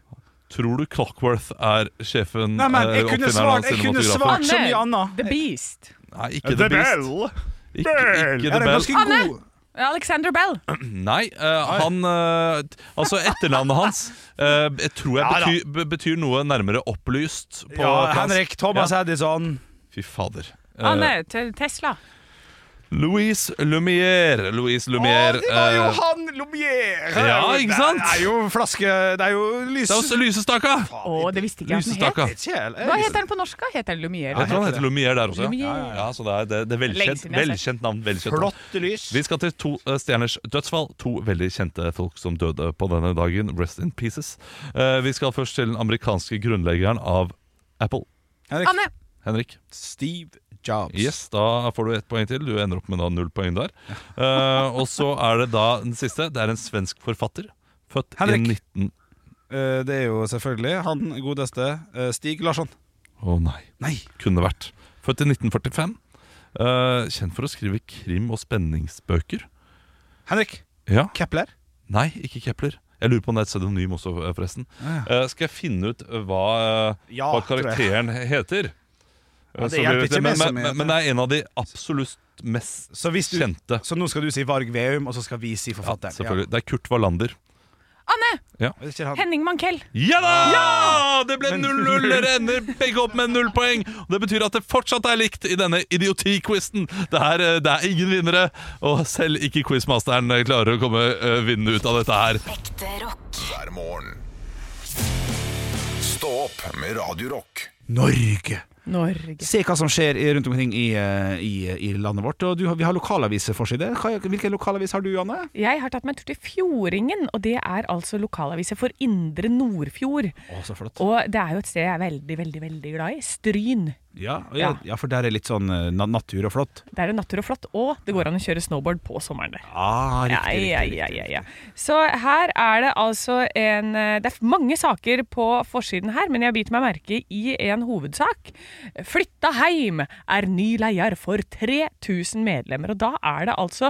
S4: Tror du Clockworth er sjefen?
S3: Nei, men jeg
S4: eh,
S3: kunne
S4: oppfinneren
S3: svart,
S4: av
S3: jeg kunne
S4: cinematografen?
S3: svart så mye
S2: Anne,
S3: annet.
S2: The Beast.
S4: Nei, ikke The, Beast. Ikke, ikke
S3: Er
S4: The
S3: det
S4: Bell.
S3: ganske god?
S2: Alexander Bell.
S4: Nei, eh, han eh, t- Altså, etternavnet hans eh, jeg tror jeg
S3: Ja da.
S4: betyr, be- betyr noe nærmere opplyst. På
S3: Ja,
S4: fransk.
S3: Henrik Thomas
S4: Ja.
S3: Edison.
S4: Fy fader. Eh,
S2: Anne, te- Tesla.
S4: Louise Lumière. Louise Lumière.
S3: det var jo
S4: eh,
S3: han Lumière!
S4: Ja, ikke sant?
S3: Det er jo flaske Det er jo lys...
S4: det er også Lysestaka!
S2: Å, det visste ikke jeg at den het.
S4: Lysestaka.
S3: Kjell,
S2: Hva heter den på norsk? da? Heter den Lumière?
S4: Jeg tror han heter Lumière der også. Ja,
S2: Lumière.
S4: ja så det er, det, det er
S2: Lenge
S4: velkjent,
S2: siden jeg har sett.
S4: velkjent navn. Velkjent navn.
S3: Flotte lys.
S4: Vi skal til to eh, stjerners dødsfall. To veldig kjente folk som døde på denne dagen. Rest in pieces. Eh, Vi skal først til den amerikanske grunnleggeren av Apple.
S2: Anne.
S4: Henrik.
S3: Steve Jobs.
S4: Yes, Da får du ett poeng til. Du ender opp med da null poeng der. Eh, og så er det da den siste. Det er en svensk forfatter. Født
S3: Henrik.
S4: i 19...
S3: Eh, det er jo selvfølgelig han godeste eh, Stig Larsson.
S4: Å nei.
S3: Nei.
S4: Kunne vært. Født i 1945. Eh, kjent for å skrive krim- og spenningsbøker.
S3: Henrik
S4: Ja.
S3: Kepler.
S4: Nei, ikke Kepler. Jeg lurer på om det er et pseudonym også, eh, forresten. Eh, skal jeg finne ut hva, eh,
S3: Ja,
S4: hva
S3: tror jeg.
S4: karakteren heter?
S3: Ja, det
S4: Så vi
S3: hjelper
S4: vet
S3: ikke
S4: men,
S3: meg som
S4: men,
S3: heter.
S4: men det er en av de absolutt mest
S3: Så, hvis du,
S4: kjente.
S3: så nå skal du si Varg Veum, og så skal vi si forfatteren.
S4: Selvfølgelig. Det er Kurt Wallander.
S2: Anne.
S3: Ja. Ikke han.
S2: Henning Mankell.
S4: Ja da! Det ble 0-0. Dere ender begge opp med null poeng. Og Det betyr at det fortsatt er likt i denne idiotiquizen. Det, er, eh, det er ingen vinnere, og selv ikke quizmasteren eh, klarer å komme eh, vinnende ut av dette her.
S7: Ekte rock.
S1: hver morgen. Stå opp med Radio Rock.
S3: Norge!
S2: Norge.
S3: Se hva som skjer i- rundt omkring i, eh, i, i landet vårt. Og du, har- vi har lokalaviseforside. Hva- Hvilken lokalavis har du, Anne?
S2: Jeg har tatt meg en tur til Fjordingen, og det er altså lokalavise for Indre Nordfjord.
S3: Å, så flott.
S2: Og det er jo et sted jeg er veldig, veldig veldig glad i. Stryn.
S3: Ja, og ja, ja, for der er litt sånn eh, na natur og flott.
S2: Det er jo natur og flott, og det går an å kjøre snowboard på sommeren der.
S3: Ah,
S2: Ja, ja, ja, ja, ja. Så her er det altså en eh, Det er mange saker på forsiden her, men jeg biter meg merke i en hovedsak. Flytta heim er ny leier for 3000 medlemmer. Og da er det altså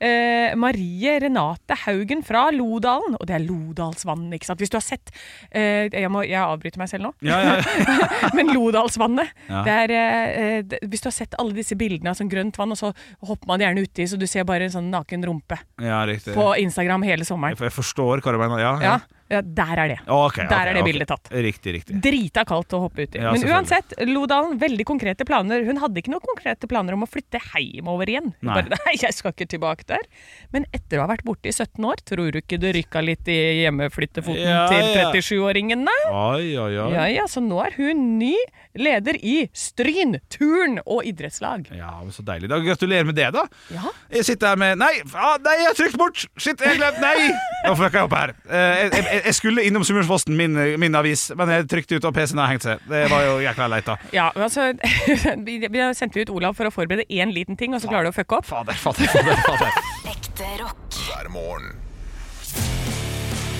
S2: eh, Marie Renate Haugen fra Lodalen. Og det er Lodalsvannet, ikke sant. Hvis du har sett eh, jeg, må, jeg avbryter meg selv nå. *laughs*
S3: Ja, ja,
S2: Men Lodalsvannet
S3: Ja.
S2: det er, eh, det, Hvis du har sett alle disse bildene av sånn grønt vann, og så hopper man gjerne uti, så du ser bare en sånn naken rumpe
S3: ja, riktig.
S2: på Instagram hele sommeren.
S3: Jeg jeg forstår hva du mener. Eh. Ja,
S2: Ja, ja der er det.
S3: Ok, ok,
S2: Der er det
S3: ok.
S2: bildet tatt.
S3: Riktig, riktig.
S2: Drita kaldt å hoppe uti.
S3: Ja,
S2: Men
S3: selvfølgelig.
S2: uansett, Lodalen, veldig konkrete planer. Hun hadde ikke noen konkrete planer om å flytte heimover igjen. Hun
S3: Nei.
S2: Bare, nei, jeg skal ikke tilbake der. Men etter å ha vært borte i 17 år, tror du ikke det rykka litt i hjemmeflyttefoten
S3: Ja,
S2: til
S3: ja.
S2: 37-åringen, nei?
S3: Oi, oi, oi.
S2: Ja, ja, så nå er hun ny leder i Stryn turn- og idrettslag.
S3: Ja, men Så deilig. da Gratulerer med det, da.
S2: Ja.
S3: Jeg sitter her med Nei, ah, nei jeg har trykt bort! Shit, jeg glemte Nei! Nå fucka jeg opp her. Eh, Jeg, jeg, jeg skulle innom Sunnmørsposten, min, eh, min avis, men jeg trykte ut, og PC-en har hengt seg. Det var jo jækla leit, da.
S2: Ja, altså, *laughs* vi vi sendte ut Olav for å forberede én liten ting, og så klarer du å fucke opp.
S3: Fader, fader, fader. fader.
S7: Ekte rock.
S1: hver morgen.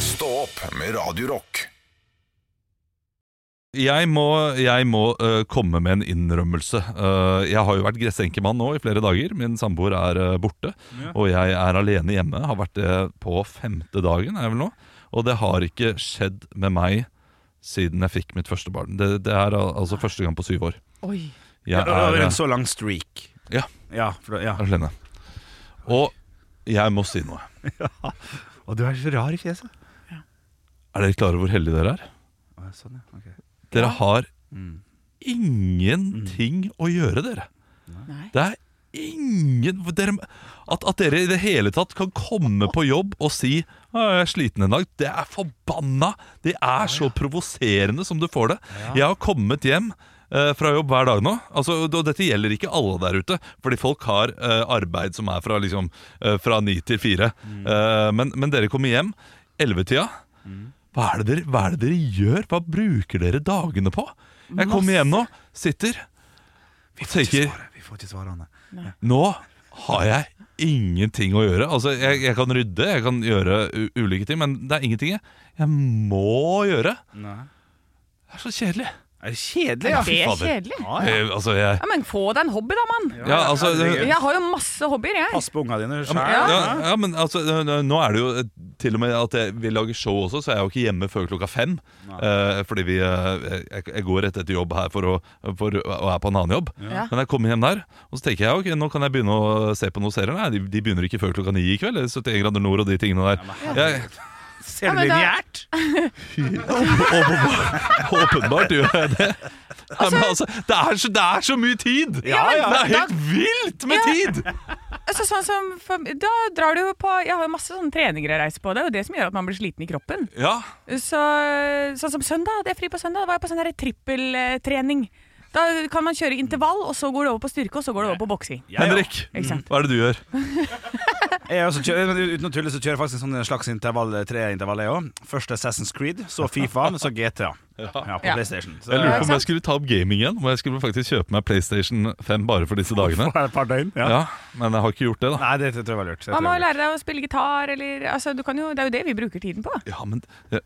S1: Stå opp med Radio Rock.
S4: Jeg må, jeg må øh, komme med en innrømmelse. Øh, jeg har jo vært gressenkemann nå i flere dager. Min samboer er øh, borte, og jeg er alene hjemme. Har vært det på femte dagen, er jeg vel nå. Og det har ikke skjedd med meg siden jeg fikk mitt første barn. Det, det er al- altså første gang på syv år.
S2: Oi.
S4: Jeg
S3: Det var
S4: er
S3: vel
S4: øh,
S3: en sånn- så lang streak.
S4: Ja.
S3: Ja, for, ja.
S4: alene. Og jeg må si noe.
S3: Og du er så rar i fjeset.
S4: Er dere klare hvor heldige dere er?
S3: Å, Sånn, ja. Mm. ok.
S4: Dere har ingenting å gjøre, dere. Det er ingen dere, at, at dere i det hele tatt kan komme på jobb og si «Å, 'Jeg er sliten en dag', det er forbanna! Det er så provoserende som du får det. Jeg har kommet hjem eh, fra jobb hver dag nå. Altså, og dette gjelder ikke alle der ute, fordi folk har eh, arbeid som er fra, liksom, eh, fra ni til fire. Eh, men, men dere kommer hjem ellevetida. Hva er, det dere, hva er det dere gjør? Hva bruker dere dagene på? Jeg kommer hjem nå, sitter og tenker
S3: Vi får ikke svare, Anne.
S4: nå har jeg ingenting å gjøre. Altså, jeg, jeg kan rydde, jeg kan gjøre u ulike ting, men det er ingenting jeg, jeg må gjøre. Det er så kjedelig.
S3: Er det kjedelig, ja?
S2: Det er
S4: fader.
S2: kjedelig.
S3: Ja, Ah, ja.
S4: Eh, altså, jeg
S2: Ja, men få deg en hobby, da, mann.
S4: Ja, altså
S3: herregud.
S2: Jeg har jo masse hobbyer, jeg.
S3: Pass på unga dine
S4: ja,
S3: sjøl.
S4: men, ja, ja, men altså, n- n- nå er det jo eh, til og med at jeg, vi lager show også, så jeg er jo ikke hjemme før klokka fem. Eh, fordi vi, eh, jeg, jeg går rett etter jobb her for å, for, og er på en annen jobb.
S2: Ja.
S4: Men jeg kommer hjem der, og så tenker jeg ok, nå kan jeg begynne å se på noen serier. Nei, de, de begynner ikke før klokka ni i kveld. eller 71 grader nord og de tingene der. jeg,
S3: Ser du
S2: men da-
S3: lineært?
S4: Åpenbart, åpenbart gjør jeg det. Nei, men altså, det, er så, det er så mye tid!
S3: Ja, ja.
S4: Det er helt vilt med
S2: Ja.
S4: tid!
S2: Altså, sånn som, for, da drar du jo på Jeg har jo masse sånne treninger jeg reiser på. Det er jo det som gjør at man blir sliten i kroppen.
S4: Ja,
S2: Så, sånn som søndag, det er fri på søndag, da var jeg på sånn her trippeltrening. Da kan man kjøre intervall, og så går det over på styrke, og så går det over på boksing.
S3: Ja, ja.
S4: Henrik,
S2: Ikke sant.
S4: hva er det du gjør?
S3: Jeg er også kjører, men uten å tulle så kjører jeg faktisk en sånn slags intervall, treintervall jeg òg. Først Assassin's Creed, så Fifa, så GTA. Ja, på
S2: Ja.
S3: PlayStation. Så
S4: Jeg lurer på
S2: ikke
S4: om
S2: sant?
S4: jeg skulle ta opp gaming igjen. Om jeg skulle faktisk kjøpe meg PlayStation 5 bare for disse dagene.
S3: et par døgn. Ja.
S4: Ja, Men jeg har ikke gjort det, da.
S3: Nei, det tror jeg var lurt. Det tror
S2: Man må
S3: jeg
S2: jo
S3: var lurt.
S2: lære deg å spille gitar, eller altså, du kan jo, Det er jo det vi bruker tiden på.
S4: Ja, men eh,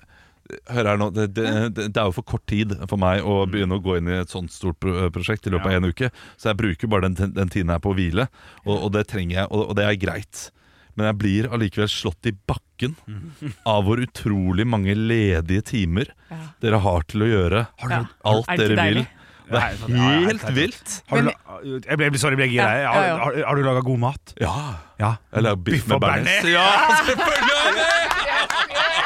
S4: Hør her nå, det, det, det det er jo for kort tid for meg å begynne å gå inn i et sånt stort pro eh, prosjekt i løpet av en uke. Så jeg bruker bare den, den tiden her på å hvile, og, og det trenger jeg, og, og det er greit. Men jeg blir allikevel slått i bakken av hvor utrolig mange ledige timer dere har til å gjøre
S2: Ja.
S4: alt
S2: Er det ikke
S4: dere vil.
S2: deilig?
S4: Det
S3: Ja,
S4: er
S3: det er helt
S4: helt vilt.
S3: Har du, la- jeg ble, sorry, jeg ble gira.
S2: Ja, ja,
S3: Har,
S2: ja.
S3: har, har du laga god mat?
S4: Ja.
S3: Ja.
S4: Eller biff
S3: og
S4: med bearnés.
S3: bearnés.
S4: *laughs* Ja, selvfølgelig! har jeg det!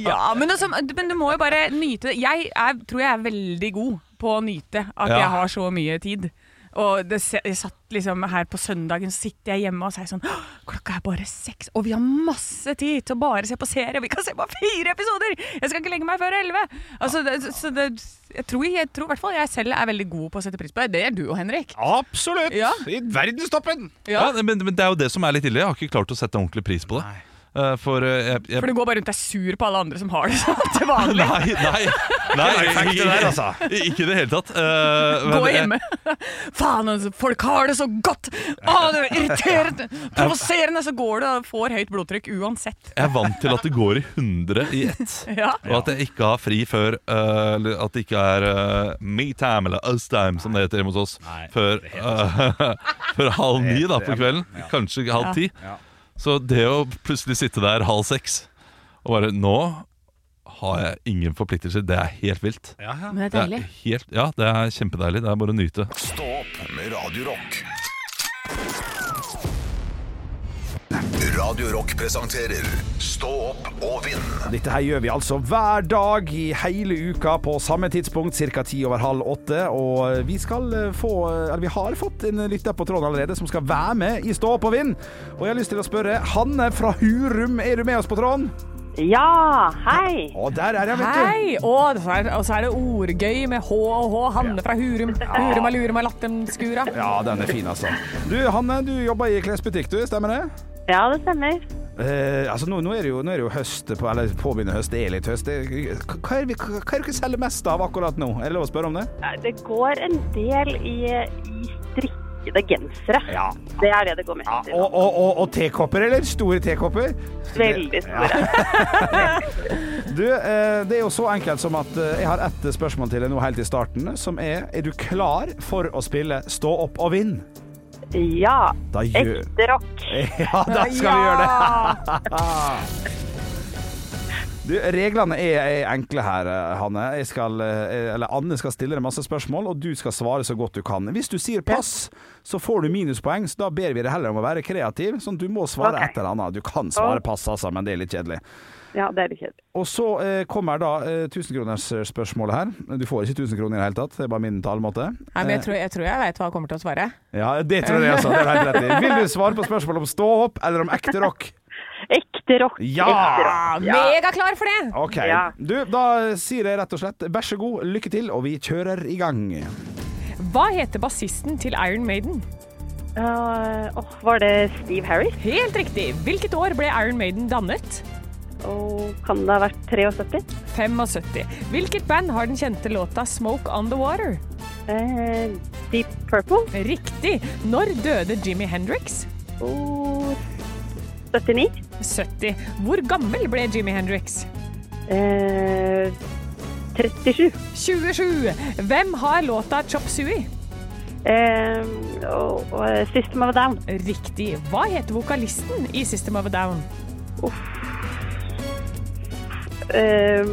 S2: Ja, men, altså, men du må jo bare nyte det. Jeg er, tror jeg er veldig god på å nyte at
S4: Ja.
S2: jeg har så mye tid. Og det, se- jeg satt liksom her på søndagen, så sitter jeg hjemme og sier sånn «Åh, Klokka er bare seks, og vi har masse tid til å bare se på serie. Vi kan se på fire episoder! Jeg skal ikke legge meg før elleve! Altså, det, så det, jeg tror, jeg tror i hvert fall jeg selv er veldig god på å sette pris på det. Det er du og Henrik.
S3: Absolutt!
S2: Ja.
S3: I verdenstoppen!
S4: Ja,
S2: Ja.
S4: men, men det er jo det som er litt ille. Jeg har ikke klart å sette ordentlig pris på det. Eh, For eh, jeg, jeg
S2: For du går bare rundt og er sur på alle andre som har det sånn til vanlig.
S4: *laughs* Nei, nei, nei
S3: Ikke det der, altså.
S4: *laughs* Ikke i det hele tatt. Eh, men
S2: Gå
S4: jeg-
S2: hjemme. *laughs* Faen, altså, folk har det så godt! Å, det er irriterende! Provoserende! Så går det og får høyt blodtrykk uansett. *laughs*
S4: Jeg er vant til at det går i 100 i ett.
S2: Ja.
S4: Og at jeg ikke har fri før eh, Eller at det ikke er eh, me time eller us time, som det heter hjemme hos oss,
S3: Nei,
S4: før, eh, *laughs* før halv ni da på
S3: ja.
S4: kvelden. Kanskje halv ti.
S3: Ja.
S4: Så det å plutselig sitte der halv seks og bare Nå har jeg ingen forpliktelser. Det er helt vilt.
S3: Ja, ja.
S2: Men det er
S4: Det er
S2: deilig.
S4: helt, ja, det er kjempedeilig. Det er bare å nyte.
S1: Stå opp med Radio Rock. Radio Rock presenterer Stå opp og vinn.
S8: Dette her gjør vi altså hver dag i hele uka på samme tidspunkt, ca. ti over halv åtte. Og vi skal eh, få Eller vi har fått en lytter på tråden allerede som skal være med i Stå opp og vinn. Og jeg har lyst til å spørre Hanne fra Hurum, er du med oss på tråden?
S9: Ja, hei.
S8: Å, der er jeg, vet du.
S2: Hei! Å, det er- Og så er det ordgøy med H og H. Hanne fra Hurum. Hurum og lurum og latterskura.
S8: Ja, den er fin, altså. Du, Hanne, du jobber i klesbutikk, du, stemmer det?
S9: Ja, det stemmer.
S8: Eh, altså nå, nå, er det jo, nå er det jo høst på, Eller påbegynner høst, det er litt høst. Det, hva er det vi- hva er det dere selger mest av akkurat nå? Er det lov å spørre om det?
S9: Det går en del i, i strikkede gensere.
S8: Ja.
S9: Det er det det går mest i. nå.
S8: Og, og, og, og tekopper, eller? Store tekopper?
S9: Veldig store.
S8: Du, eh, det er jo så enkelt som at eh, jeg har ett spørsmål til deg nå helt i starten, som er Er du klar for å spille Stå opp og vinn?
S9: Ja.
S8: Da gjør *laughs* Eh.
S9: Ekte rock.
S8: Ja, da skal vi gjøre det. Du, reglene er, er enkle her, eh, Hanne. Jeg skal, eh, eller Anne skal stille deg masse spørsmål, og du skal svare så godt du kan. Hvis du sier pass, så får du minuspoeng, så da ber vi deg heller om å være kreativ. Sånn, du må svare
S9: Ok.
S8: et eller annet. Du kan svare pass, altså, men det er litt kjedelig.
S9: Ja, det er litt kjedelig.
S8: Og så eh, kommer da eh, 1000-kronersspørsmålet her. Du får ikke 1000 kroner i det hele tatt, det er bare min talemåte.
S10: Nei, men jeg tror jeg, tror jeg veit hva han kommer til å svare.
S8: Ja, det tror jeg også. Det er du helt rett i. Vil du svare på spørsmål om ståhopp eller om ekte rock?
S9: Ekte rock.
S8: Ja!
S9: Ekte rock.
S10: Ah, Megaklar for det!
S8: OK.
S9: Ja.
S8: Du, da sier jeg rett og slett vær så god, lykke til, og vi kjører i gang.
S10: Hva heter bassisten til Iron Maiden?
S9: Eh, åh, var det Steve Harris?
S10: Helt riktig. Hvilket år ble Iron Maiden dannet?
S9: Og kan det ha vært 73?
S10: 75. Hvilket band har den kjente låta 'Smoke On The Water'?
S9: Eh, Deep Purple?
S10: Riktig. Når døde Jimmy Hendrix?
S9: Og 79?
S10: 70. Hvor gammel ble Jimmy Hendrix?
S9: Eh, 37?
S10: 27. Hvem har låta 'Chop Suey'?
S9: Eh, og, og System of a Down?
S10: Riktig. Hva heter vokalisten i System of a Down?
S9: Eh,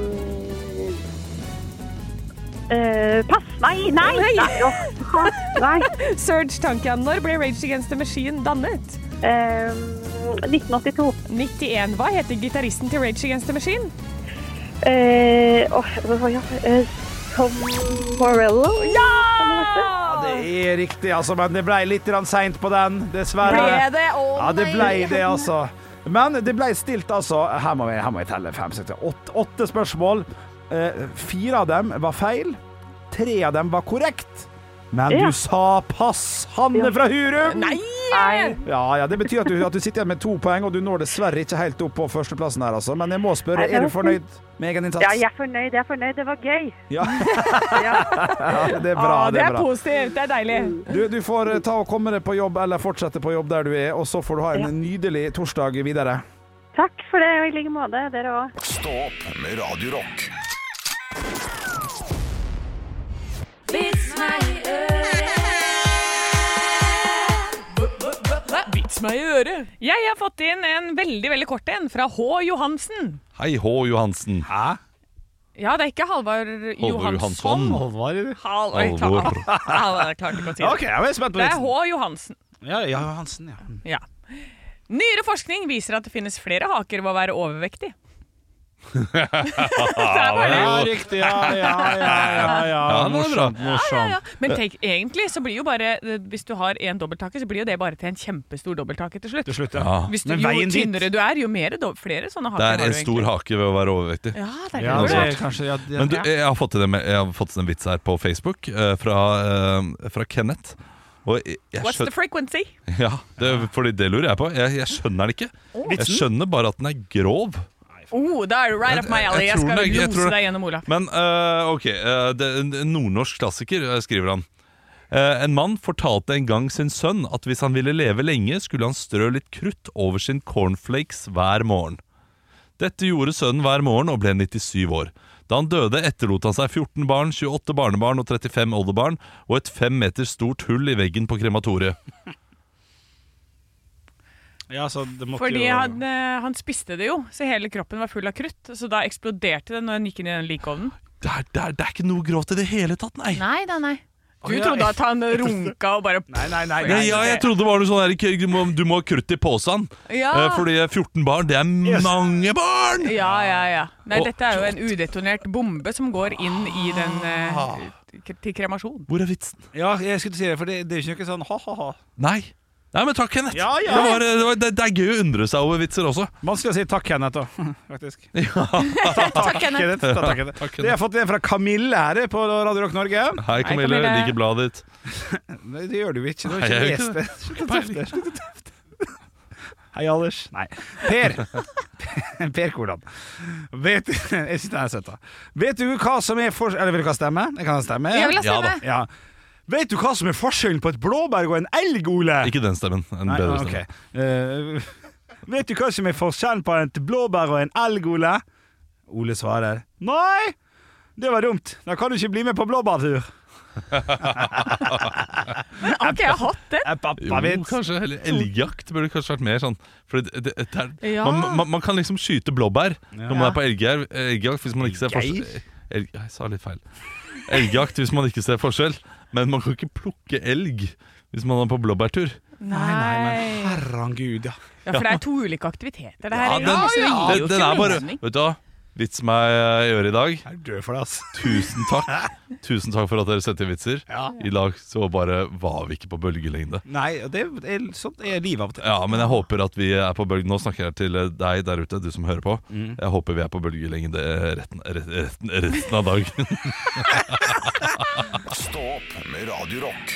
S9: eh, pass! Nei, nei!
S10: Nei.
S9: Nei! åh, nei.
S10: Serge Tankian, når ble Rage Against the Machine dannet?
S9: Eh, 1982.
S10: 91. Hva heter gitaristen til Rage Against the Machine?
S9: Eh, åh, hva var det? Eh, Tom Morello?
S10: Ja!
S8: Det er riktig, altså, men det ble litt grann seint på den,
S10: Ble
S8: dessverre.
S10: det? Å
S8: Ja, det ble
S10: nei.
S8: det, altså. Men det ble stilt, altså Her må jeg, her må jeg telle fem, seks, åtte, åtte spørsmål. Eh, fire av dem var feil. Tre av dem var korrekt. Men
S9: Ja.
S8: du sa pass, Hanne fra Hurum!
S10: Nei!
S9: Nei.
S8: Ja, ja, Det betyr at du, at du sitter igjen med to poeng, og du når dessverre ikke helt opp på førsteplassen her, altså. Men jeg må spørre, er du fornøyd med egen innsats?
S9: Ja, jeg er fornøyd. Jeg er fornøyd. Det var gøy.
S8: *laughs* Ja. Ja, det er bra.
S10: Ah,
S8: det er bra.
S10: positivt. Det er deilig.
S8: Du, du får eh, ta og komme deg på jobb, eller fortsette på jobb der du er, og så får du ha en nydelig torsdag videre.
S9: Takk for det, og i like måte. Dere òg.
S1: Stå opp med Radio Rock.
S10: Vits meg i øret.
S2: Jeg har fått inn en veldig veldig kort en fra H. Johansen.
S4: Hei H. Johansen.
S2: Ja, det er ikke Halvard
S4: Halvor
S2: Johansson.
S4: Johansson.
S2: Hal- Oi, klar-
S4: Halvor.
S2: *laughs* Halvor, jeg klarte ikke å si det.
S3: Ok, jeg er spent på
S2: Det er
S3: vitsen.
S2: H. Johansen.
S3: Ja, ja, Hansen, ja.
S2: Ja. Nyere forskning viser at det finnes flere haker ved å være overvektig. det er bare det.
S3: Ja, riktig. Ja, ja, ja. ja, ja.
S4: Ja, den var bra.
S3: morsomt, morsomt.
S2: Ja, men tenk, egentlig så blir jo bare Hvis du har en dobbelthake, så blir jo det bare til en kjempestor dobbelthake til slutt.
S3: Til slutt, ja.
S4: Ja.
S2: Hvis du,
S3: Men
S2: jo
S3: veien dit-
S2: tynnere du er, jo mer, dob- flere sånne haker
S4: Det er
S2: har du
S4: en stor
S2: egentlig.
S4: hake ved å være overvektig.
S2: Ja, det er
S3: Ja,
S2: det.
S3: det
S2: Ja,
S3: er kanskje ja, ja,
S4: Men du,
S3: ja.
S4: jeg har fått en, jeg har fått en vits her på Facebook eh, fra, eh, fra Kenneth. Og jeg, jeg
S2: What's the
S4: skjøn- *laughs*
S2: frequency?
S4: ja, det, fordi det lurer jeg på. Jeg, jeg skjønner den ikke. Jeg skjønner bare at den er grov.
S2: Oh, da er du right up my
S4: Jeg- jeg
S2: alley. Jeg
S4: tror
S2: skal
S4: det- jeg tror
S2: lose
S4: det-
S2: deg gjennom Olaf.
S4: Men eh, ok, eh, det, en en nordnorsk klassiker, eh, skriver han. Eh, en mann fortalte en gang sin sønn at hvis han ville leve lenge, skulle han strø litt krutt over sin cornflakes hver morgen. Dette gjorde sønnen hver morgen og ble 97 år. Da han døde, etterlot han seg 14 barn, 28 barnebarn og 35 oldebarn og et fem meter stort hull i veggen på krematoriet.
S3: ja så det måtte
S2: Fordi
S3: jo
S2: han, eh, han spiste det jo, så hele kroppen var full av krutt. Så da eksploderte det når han gikk inn i den likovnen.
S4: Det er, det er, det er ikke noe grovt i det hele tatt, nei!
S2: Nei, nei, nei. Du
S3: Å, ja,
S2: trodde at han runka og bare
S3: Nei, nei, nei.
S4: Ja, ja, jeg trodde det var noe sånn her k- Du må, du må ha krutt i posen.
S2: Ja.
S4: Eh, Fordi 14 barn, det er mange barn!
S2: Ja, ja, ja. Nei,
S4: Å,
S2: dette er jo en udetonert bombe som går inn i den eh, k- til kremasjon.
S4: Hvor er vitsen?
S3: Ja, jeg skulle si det, for det, det er jo ikke noe sånn ha-ha-ha.
S4: Nei. Nei, men takk, Kenneth.
S3: Ja, ja.
S4: Det, var, det, var, det, det er gøy å undre seg over vitser også.
S3: Vanskelig å si takk, Kenneth, da. *laughs* Faktisk.
S2: Takk, Kenneth.
S3: Kenneth, da, takk, Kenneth. Det har jeg fått det fra Kamille her eh, på Radio Rock Norge.
S4: Hei, Kamille.
S2: Kamille.
S4: Liker bladet ditt.
S3: Nei, det gjør du jo ikke. Du har
S4: Nei,
S3: ikke
S4: jeg
S3: lest
S4: gjør
S3: det. Slutt å tøfte. Slutt å tøfte. Hei, Anders. Nei. Per. Per *laughs* Kolan. Vet, jeg synes den er søt, da. Vet du hva som er for... Eller vil du ha stemme? Jeg kan ha stemme.
S2: Jeg vil ha
S4: Ja da.
S2: stemme.
S8: Ja.
S3: Vet du hva som er forskjellen på et blåbær og en elg, Ole?
S4: Ikke den stemmen. En
S3: Nei,
S4: bedre
S3: ok.
S4: stemme.
S3: Eh, vet du hva som er forskjellen på et blåbær og en elg, Ole? Ole svarer Nei, det var dumt. Da kan du ikke bli med på blåbærtur.
S2: Men har ikke jeg hatt den?
S3: Er
S4: Jo,
S3: pappa vits?
S4: kanskje heller Elgjakt burde kanskje vært mer sånn For det, det, det er,
S2: Ja.
S4: man, man, man kan liksom skyte blåbær når man er på elgjer- elgjakt hvis man ikke ser
S3: Elgjer?
S4: forskjell Elg, Jeg sa litt feil Elgjakt hvis man ikke ser forskjell Men man kan ikke plukke elg hvis man er på blåbærtur
S2: Nei,
S3: Herregud, ja.
S2: Ja, for det er to ulike aktiviteter, det
S4: Ja,
S2: her. egentlig,
S4: den-
S2: så det gir
S4: Den,
S2: jo
S4: den
S2: ikke
S4: er bare,
S2: mening.
S4: vet du hva Vits meg i øret i dag
S3: Jeg er død for det, ass.
S4: Tusen takk Tusen takk for at dere setter vitser
S3: Ja.
S4: I dag så bare var vi ikke på bølgelengde
S3: *laughs* Nei, og det er, sånt er livet av og til.
S4: Ja, men jeg håper at vi er på bølgen Nå snakker jeg til eh, deg der ute, du som hører på Jeg håper vi er på bølgelengde retten, retten, resten av dagen
S1: Stå opp med Radio Rock.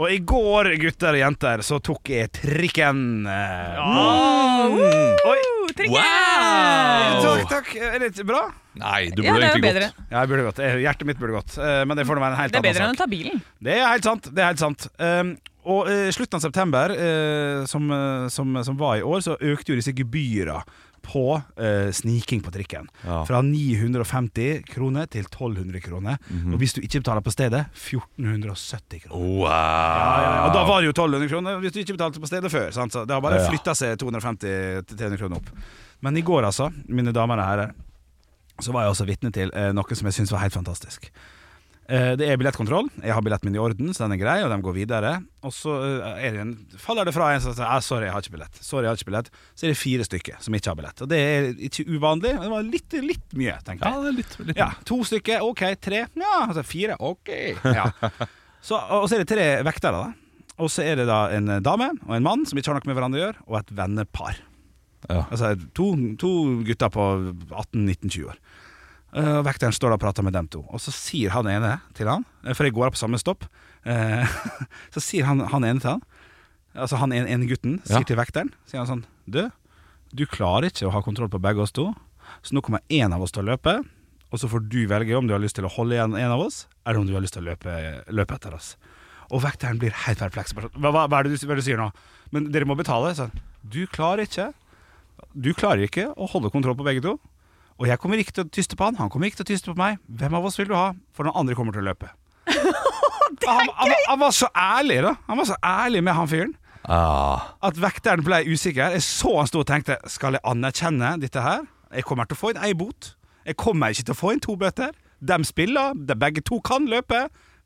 S3: Og i går, gutter og jenter, så tok jeg trikken. Eh, Oi!
S2: Oh, trikken!
S3: Takk,
S4: Wow
S3: takk. Er det ikke bra?
S4: *laughs* Nei, du
S2: Ja,
S4: burde
S2: det er jo
S4: egentlig
S2: bedre.
S4: gått
S3: Ja, jeg burde gått. Eh, Hjertet mitt burde gått. Eh, Men det får nå være en helt
S2: Det er
S3: annen
S2: bedre enn
S3: sak.
S2: å ta bilen.
S3: Det er helt sant. Det er helt sant. Um, og eh, slutten av september, eh, som, eh, som, som var i år, så økte jo disse gebyra på eh, sniking på trikken.
S4: Ja.
S3: Fra 950 kroner til 1200 kroner. Og hvis du ikke betaler på stedet, 1470 kroner.
S4: Wow
S3: Og da var det jo 1200 kroner hvis du ikke betalte på stedet før. Sant? Så det har bare
S4: Ja.
S3: flytta seg 250-300 kroner opp. Men i går, altså, mine damer og herrer, så var jeg også vitne til eh, noe som jeg syns var helt fantastisk. Eh, det er billettkontroll. Jeg har billetten min i orden, så den er grei, og de går videre. Og så eh, er det en, faller det fra en som sier «Ah, 'sorry, jeg har ikke billett'. Sorry, jeg har ikke billett Så er det fire stykker som ikke har billett. Og det er ikke uvanlig, men det var litt, litt mye, tenker
S4: Ja,
S3: jeg.
S4: det er litt, litt.
S3: Ja, to stykker, ok, tre Ja, altså fire, ok ja. så, Og så er det tre vektere da Og så er det da en dame og en mann Som ikke har noe med hverandre å gjøre Og et vennepar
S4: Ja.
S3: Altså to, to gutter på 18-19-20 år Eh, Og vekteren står da og prater med dem to Og så sier han ene til han eh, For jeg går av på samme stopp eh, *laughs* Så sier han, han ene til han Altså han ene, ene gutten
S4: Ja.
S3: sier til vekteren Sier han sånn Du, du klarer ikke å ha kontroll på begge oss to Så nå kommer en av oss til å løpe Og så får du velge om du har lyst til å holde igjen en av oss Eller om du har lyst til å løpe, løpe etter oss Og vekteren blir helt perpleks Bare sånn, hva, hva, hva er det du, hva er det du sier nå? Men dere må betale sånn. Du klarer ikke Du klarer ikke å holde kontroll på begge to Og jeg kommer ikke til å tyste på han Han kommer ikke til å tyste på meg Hvem av oss vil du ha? For den andre kommer til å løpe han, han, han var så ærlig da Han var så ærlig med han fyren
S4: Ah,
S3: at vekteren ble usikker. Jeg så han sto og tenkte Skal jeg anerkjenne dette her? Jeg kommer til å få inn ei bot. Jeg kommer ikke til å få inn to bøter. De spiller, de begge to kan løpe,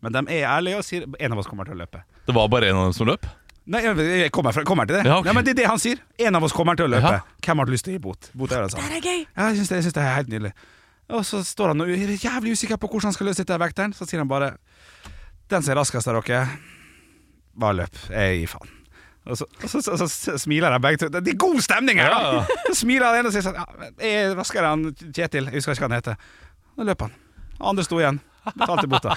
S3: men de er ærlige og sier en av oss kommer til å løpe.
S4: Det var bare en av dem som løp
S3: Nei, jeg jeg kommer, fra, kommer til det.
S4: Ja, ok.
S3: Nei, men Det er det han sier. En av oss kommer til å løpe.
S4: Ja.
S3: Hvem har lyst til å gi bot? Bot er det
S2: Det
S3: altså. samme.
S2: er gøy!
S3: Ja, jeg syns det, jeg synes det er helt nydelig. Og så står han og er jævlig usikker på hvordan han skal løse dette, vekteren. Så sier han bare Den som er raskest av dere, bare løp. Jeg gir faen. Og så, og så, så, så, smiler de begge to. Det er god stemning her! da! Så *laughs* smiler han ene og sier sånn ja, men Jeg er raskere enn Kjetil. Jeg husker ikke hva han heter. Da løp han. Han Andre sto igjen. Betalte *laughs* bota.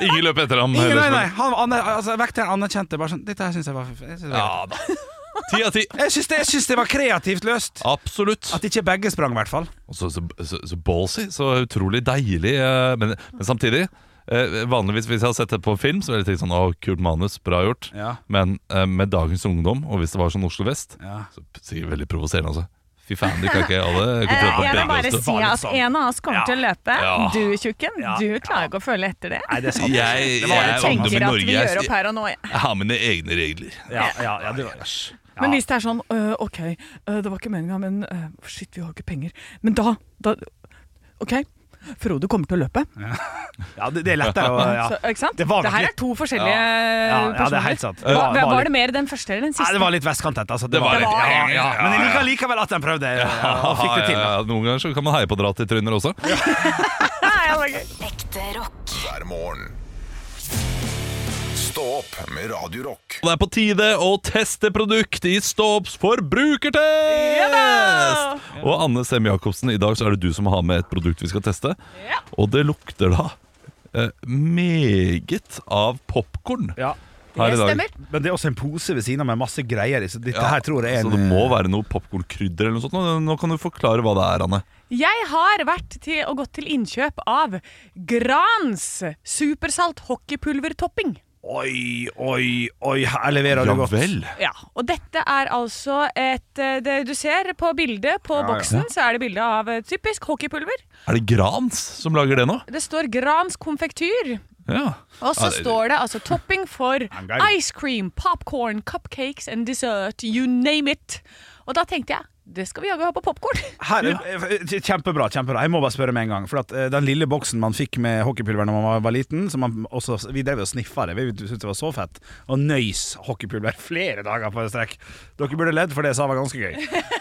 S4: Ingen løp etter ham
S3: Ingen,
S4: heller,
S3: nei, sånn-
S4: som-
S3: nei. Han, aner- altså, vekteren anerkjente bare sånn Dette her syns jeg var Jeg syns det, var-
S4: Ja da Ti av ti
S3: jeg syns det, jeg syns det var kreativt løst.
S4: Absolutt
S3: At ikke begge sprang, i hvert fall.
S4: Og Så, så, så, så ballsy, så utrolig deilig eh, Men, men samtidig eh, Vanligvis hvis jeg har sett det på film Så ville jeg tenkt sånn, å kult manus, bra gjort
S3: Ja.
S4: Men eh, med dagens ungdom Og hvis det var sånn Oslo Vest
S3: Ja.
S4: Så p- sikkert veldig provoserende altså Fy faen, de kan ikke alle
S2: *laughs* Eh,
S4: kontroll på
S2: Jeg vil
S4: begge
S2: bare
S4: oss
S2: si
S4: to.
S2: at en av oss kommer til å løpe.
S4: Ja.
S2: Du, tjukken, du klarer ikke å følge etter det.
S3: Nei, det er sant.
S4: Jeg,
S3: Det
S4: jeg
S3: var litt
S4: er
S3: sånn.
S4: ungdom i
S2: Tenker at
S4: Norge
S2: vi
S4: jeg,
S2: gjør opp her og nå. jeg.
S4: jeg har mine egne regler
S3: Ja, ja, ja, det var Æsj.
S2: Men hvis det er sånn øh, OK, øh, det var ikke meninga, men øh, shit, vi har ikke penger. Men da, da OK. Frode kommer til å løpe.
S3: Ja, det, det er lettere å ja.
S2: Så, ikke sant?
S3: Det var nok
S2: her
S3: litt-
S2: er to forskjellige
S3: Ja, ja, det er
S2: personer.
S3: helt sant. Det
S2: Hva- hva-
S3: var- var
S2: var
S3: litt-
S2: det mer den første eller den
S3: Nei,
S2: siste?
S3: det var litt vestkanthet, altså.
S4: Det var
S2: Det var-
S4: litt- ja, ja, ja,
S3: Men jeg liker likevel at de prøvde, ja, og fikk det
S4: Ja,
S3: til. da.
S4: ja, ja. Noen ganger så kan man heie på å dra til Trønder også
S7: Ekte rock.
S1: hver morgen. Stå opp med Radio Rock.
S4: Og det er på tide å teste produkt i Stopps forbrukertest! Og Anne Semme Jacobsen, i dag så er det du som har med et produkt vi skal teste. Og det lukter da eh, meget av popkorn
S3: Ja.
S4: her i dag.
S3: Men det er også en pose ved siden av med masse greier i, så dette her tror jeg er
S4: Så
S3: en eh,
S4: det må være noe popkornkrydder eller noe sånt. Nå- Nå kan du forklare hva det er, Anne.
S2: Jeg har vært til, og gått til innkjøp av Grans supersalt hockeypulvertopping.
S3: Oi, oi, oi, her leverer
S4: Ja
S3: du godt.
S4: vel.
S2: Ja, og dette er altså et eh, det Du ser på bildet på boksen, så er det bilde av eh, typisk hockeypulver.
S4: Er det Grans som lager det nå?
S2: Det står Grans konfektyr.
S4: Ja.
S2: Og så
S4: Ja, det-
S2: står det altså topping
S4: *laughs*
S2: for
S3: geil.
S2: ice cream, popcorn, cupcakes and dessert. You name it. Og da tenkte jeg det skal vi jaggu ha på popkorn.
S3: Her, eh, Kjempebra. kjempebra Jeg må bare spørre med en gang. For at eh, Den lille boksen man fikk med hockeypulver Når man var- var liten Som man også, Vi drev og sniffa det. Vi syntes det var så fett. Og nøys hockeypulver *laughs* flere dager på strekk. Dere burde ledd, for det jeg sa var ganske gøy.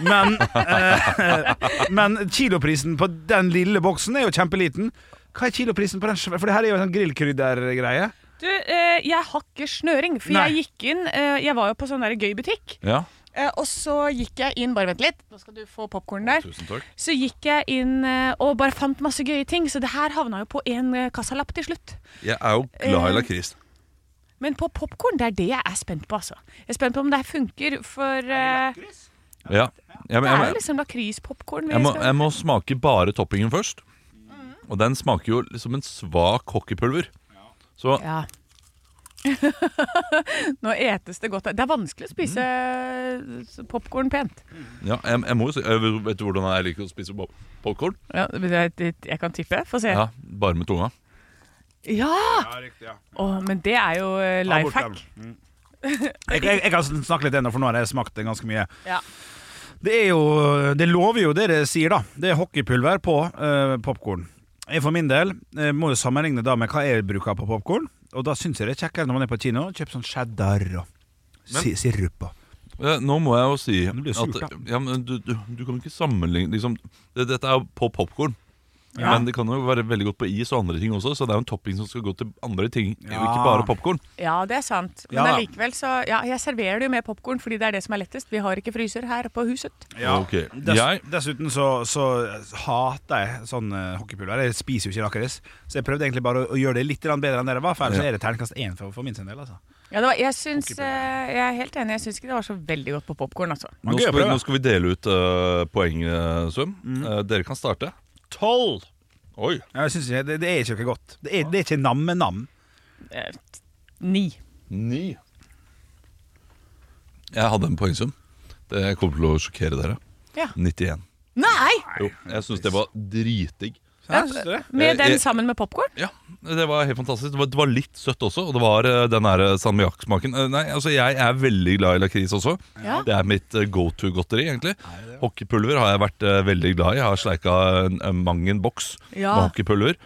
S3: Men, eh, *laughs* men kiloprisen på den lille boksen er jo kjempeliten. Hva er kiloprisen på den svære? For det her er jo en sånn grillkryddergreie.
S2: *laughs* Du, eh, jeg har ikke snøring, for
S3: Nei.
S2: jeg gikk inn eh, Jeg var jo på sånn der gøy butikk,
S4: ja.
S2: eh, og så gikk jeg inn Bare vent litt, nå skal du få popkorn der.
S4: Tusen takk.
S2: Så gikk jeg inn eh, og bare fant masse gøye ting, så det her havna jo på én kassalapp til slutt.
S4: Jeg er jo glad i lakris.
S2: Men på popkorn, det er det jeg er spent på, altså. Jeg er spent på om det her funker, for eh,
S4: Ja. Jeg,
S2: det
S4: jeg,
S2: er jo
S4: jeg,
S2: liksom lakrispopkorn. vi
S4: jeg, må,
S2: skal-
S4: jeg må smake bare toppingen først.
S2: Mm.
S4: Og den smaker jo som en svak hockeypulver. Så
S2: Ja. *laughs* Nå etes det godt. Det er vanskelig å spise popkorn pent.
S4: ja, jeg, jeg må jo si jeg Vet du hvordan jeg liker å spise pop- popcorn?
S2: Ja, jeg, jeg kan tippe. Få se.
S4: Ja,
S2: Ja!
S4: bare med tunga.
S2: Å, men det er jo eh,
S3: Ta
S2: life
S3: bort
S2: hack.
S3: den. Mm. Jeg, jeg, jeg kan snakke litt ennå, for nå har jeg smakt det ganske mye.
S2: Ja.
S3: Det, er jo, det lover jo det det sier, da. Det er hockeypulver på uh, popkorn. Jeg for min del eh, må jo sammenligne da med hva jeg bruker på popkorn. Og da syns jeg det er kjekkere når man er på kino. Kjøp sånn cheddar og si, sirup og
S4: Ja, Eh, Nå må jeg jo si
S3: Nå blir jeg sur,
S4: at
S3: da.
S4: ja, men du, du, du kan ikke sammenligne liksom, det, Dette er jo på popkorn.
S2: Ja.
S4: Men det kan jo være veldig godt på is og andre ting også, så det er jo en topping som skal gå til andre ting.
S3: Ja.
S4: Og ikke bare popkorn.
S2: Ja, det er sant. Men
S3: Ja.
S2: allikevel så ja, Jeg serverer det jo med popkorn fordi det er det som er lettest. Vi har ikke fryser her på huset.
S4: Ok.
S3: Dess,
S4: Jeg-
S3: Dessuten så, så hater jeg sånn eh, hockeypulver. Jeg spiser jo ikke lakris. Så jeg prøvde egentlig bare å, å gjøre det litt grann bedre enn det det var, for ellers
S4: Ja.
S3: er det terningkast én for, for min sin del. Altså.
S2: Ja, det var, jeg, syns, eh, jeg er helt enig. Jeg syns ikke det var så veldig godt på popkorn, altså.
S3: Man
S4: Nå
S3: kan jo
S4: skal,
S3: prøve.
S4: nå skal vi dele ut uh, poengsum.
S2: Mm.
S4: Eh, dere kan starte.
S3: Tolv!
S4: Oi.
S3: Jeg synes ikke, det, det er ikke noe godt. Det er, det er ikke namme-nam.
S2: Eh, Ni.
S4: Ni. Jeg hadde en poengsum. Det kommer til å sjokkere dere.
S2: Ja.
S4: 91.
S2: Nei!
S4: Jo, jeg syns det var dritdigg.
S2: Med
S4: Eh, eh.
S2: den sammen med popkorn?
S4: Ja, det var helt fantastisk. Det var, det var litt søtt også, og det var eh, den der salmiakksmaken. Eh, Nei, altså jeg er veldig glad i lakris også.
S2: Ja.
S4: Det er mitt go to-godteri, egentlig. Hockeypulver har jeg vært eh, veldig glad i. Jeg har sleika en, en mang en boks
S2: Ja.
S4: med hockeypulver.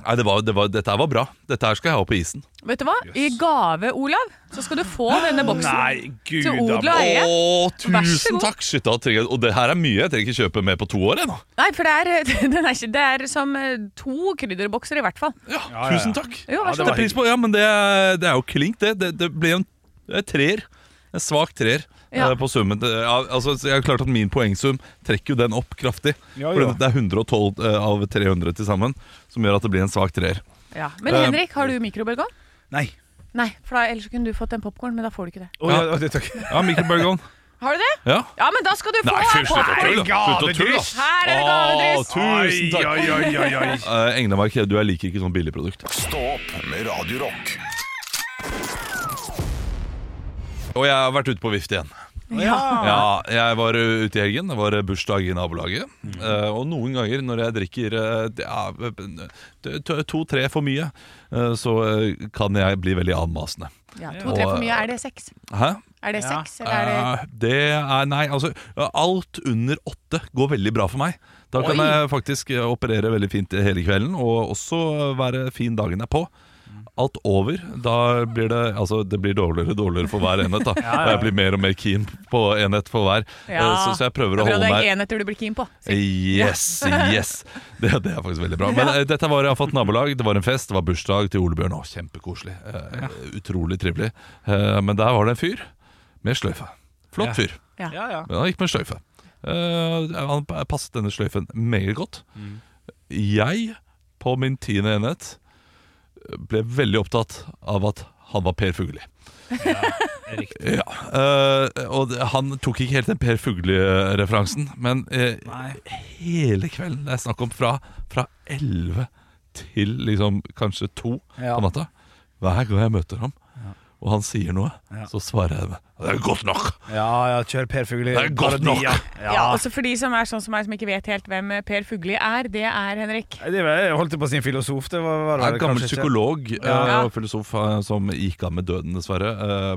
S4: Nei, det var, det var, dette her var bra. Dette her skal jeg ha på isen.
S2: Vet du hva? I gave, Olav, så skal du få denne boksen.
S3: Nei, gud
S2: Til odel og eie.
S4: Å,
S2: Vær så
S4: tusen
S2: god.
S4: takk! Shit, da trenger jeg, og det her er mye. Jeg trenger ikke kjøpe mer på to år ennå.
S2: Nei, for det er, *laughs* den er, ikke, det er som eh, to krydderbokser i hvert fall.
S4: Ja,
S3: ja, ja.
S4: tusen takk.
S2: Jo, vær så
S4: det er
S2: god.
S4: pris på, ja, men det er, det er jo klink, det. Det, det ble jo en det er treer. En svak treer
S2: Ja.
S4: eh, på summen. Det- Ja, altså, så jeg har klart at Min poengsum trekker jo den opp kraftig.
S3: Ja,
S4: For
S3: ja.
S4: det er 112 eh, av 300 til sammen som gjør at det blir en svak treer.
S2: Ja. Men
S4: Eh,
S2: Henrik, har du mikrobølgeovn?
S3: Nei.
S2: Nei, for da, ellers så kunne du fått en popkorn, men da får du ikke det.
S3: Å, ja, det takk.
S4: Ja, mikrobølgeovn.
S2: Har du det?
S4: Ja.
S2: Ja, men da skal du få
S4: Nei, fy,
S2: her
S4: slutt å tulle! da. Slutt å tulle, da.
S3: Gavedryss.
S2: Her er det
S4: Å,
S2: gavedryss!
S4: tusen takk!
S3: Oi, oi, oi, oi.
S4: Eh, Englemark, du jeg liker ikke sånn billig produkt.
S1: Stå opp med Radio Rock.
S4: Og jeg har vært ute på vift igjen.
S3: *laughs* Ja.
S4: Ja, jeg var ø, ute i helgen. Det var ø, bursdag i nabolaget. Eh, og noen ganger når jeg drikker eh, det er, eh, to- to-tre for mye, eh, så eh, kan jeg bli veldig anmasende.
S2: Ja, To-tre for mye. Er det seks?
S4: Hæ?
S2: Er det
S3: Ja.
S2: seks, eller er det
S4: Eh, det er Nei, altså. Alt under åtte går veldig bra for meg. Da kan
S2: Oi.
S4: jeg faktisk eh, operere veldig fint hele kvelden, og også være fin dagen derpå. Alt over, da blir det Altså, det blir dårligere og dårligere for hver enhet. da Og jeg blir mer og mer keen på enhet for hver. Eh,
S2: Ja.
S4: Så, så jeg prøver
S2: Det
S4: å
S2: er bra
S4: holde
S2: det
S4: meg
S2: er enheter du blir keen på.
S4: Yes, yes det, det er faktisk veldig bra Men eh, dette var i hvert fall et nabolag Det var en fest, det var bursdag til Ole Bjørn Å, Kjempekoselig, eh, utrolig trivelig eh, Men der var det en fyr Med sløyfe, flott fyr
S2: Ja.
S3: Ja, ja.
S4: Men han gikk med sløyfe eh, Han passet denne sløyfen meget godt Jeg, på min tiende enhet Ble veldig opptatt av at han var Per Fugli *laughs* ja, eh, og det- han tok ikke helt den Per Fugli-referansen, men eh, hele kvelden, det er snakk om fra, fra 11 til liksom kanskje 2
S3: Ja.
S4: på natta, Hver gang jeg møter ham, og han sier noe, så svarer jeg med Det er godt nok!
S3: Ja, ja, kjør Per Fugli.
S4: Det er godt nok.
S3: Ja.
S2: Ja, også for de som er sånn som meg, som ikke vet helt hvem eh, Per Fugli er. Det er Henrik.
S3: Nei, Det var, jeg holdt på å si en filosof. Det var, var
S4: Det er en
S3: det
S4: gammel
S3: kanskje ikke.
S4: psykolog
S2: Ja.
S4: eh, og filosof eh, som gikk av med døden, dessverre.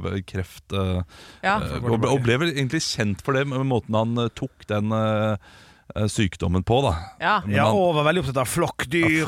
S4: eh, Kreft. eh,
S2: Ja.
S4: eh, Og ble, og ble vel egentlig kjent for det med måten han eh, tok den eh, eh, sykdommen på, da.
S2: Ja.
S4: Men
S3: Ja,
S4: han-
S3: og var veldig opptatt av flokkdyr.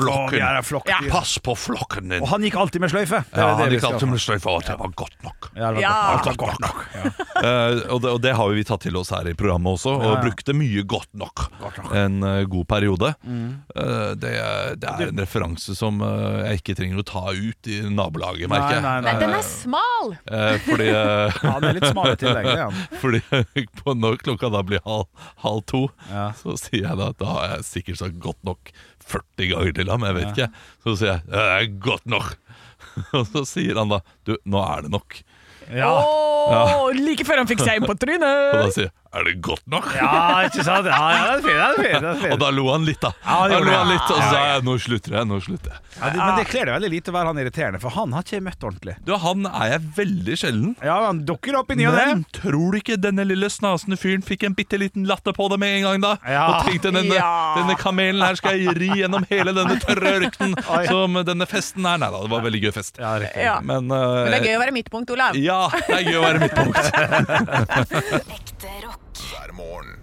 S4: Av flokken.
S3: Og, ja, det er flokkdyr.
S4: Pass på flokken din!
S3: og han gikk alltid med sløyfe. Det er
S4: Ja,
S3: det
S4: han
S3: vi
S4: gikk
S3: skal-
S4: alltid med sløyfe, og det var godt nok.
S3: Ja, det var
S2: Ja.
S3: godt nok. Godt nok. Ja.
S4: Eh, og, det, og det har jo vi tatt til oss her i programmet også, og
S3: Ja, ja.
S4: brukte mye godt nok, en eh, god periode.
S3: Mm.
S4: Eh, det, det er en referanse som eh, jeg ikke trenger å ta ut i nabolaget, merker jeg.
S3: Nei, nei,
S2: Nei, den er smal!
S4: Eh, fordi eh,
S3: *laughs* Ja, det er litt smale tillegg, det. Ja.
S4: *laughs* fordi på når klokka da blir halv, halv to,
S3: Ja.
S4: så sier jeg da at da har jeg sikkert sagt godt nok 40 ganger til ham. Jeg vet ikke. Så sier jeg det er godt nok. *laughs* Og så sier han da du, nå er det nok.
S3: Ja.
S2: Åh, Like før han fikk seg inn på
S4: *laughs* Og da
S2: trynet!
S4: sier jeg er det godt nok?
S3: ja, ikke sant? Ja, ja, det er fint. Det er fint, det er
S4: Og
S3: fint.
S4: da lo han litt, da.
S3: Ja, det
S4: da
S3: gjorde
S4: lo
S3: han.
S4: han litt, Og så sa jeg nå slutter jeg. nå slutter jeg
S3: Ja, det, men det kler det veldig lite å være han irriterende, for han har ikke møtt ordentlig.
S4: Du, Han er jeg veldig sjelden.
S3: Ja, Han dukker opp i ny og ne.
S4: Men tror du ikke denne lille snasende fyren fikk en bitte liten latter på det med en gang, da?
S3: Ja.
S4: og tenkte denne,
S2: Ja.
S4: denne kamelen her skal jeg ri gjennom hele denne tørre ørkenen
S3: *laughs*
S4: som denne festen er. Nei da, det var en veldig gøy fest.
S3: Ja, riktig.
S2: Ja. Men
S4: Men, eh,
S2: det er gøy å være midtpunkt, Olav.
S4: Ja, det er gøy å være *laughs* midtpunkt.
S7: Ekte rock.
S1: hver morgen.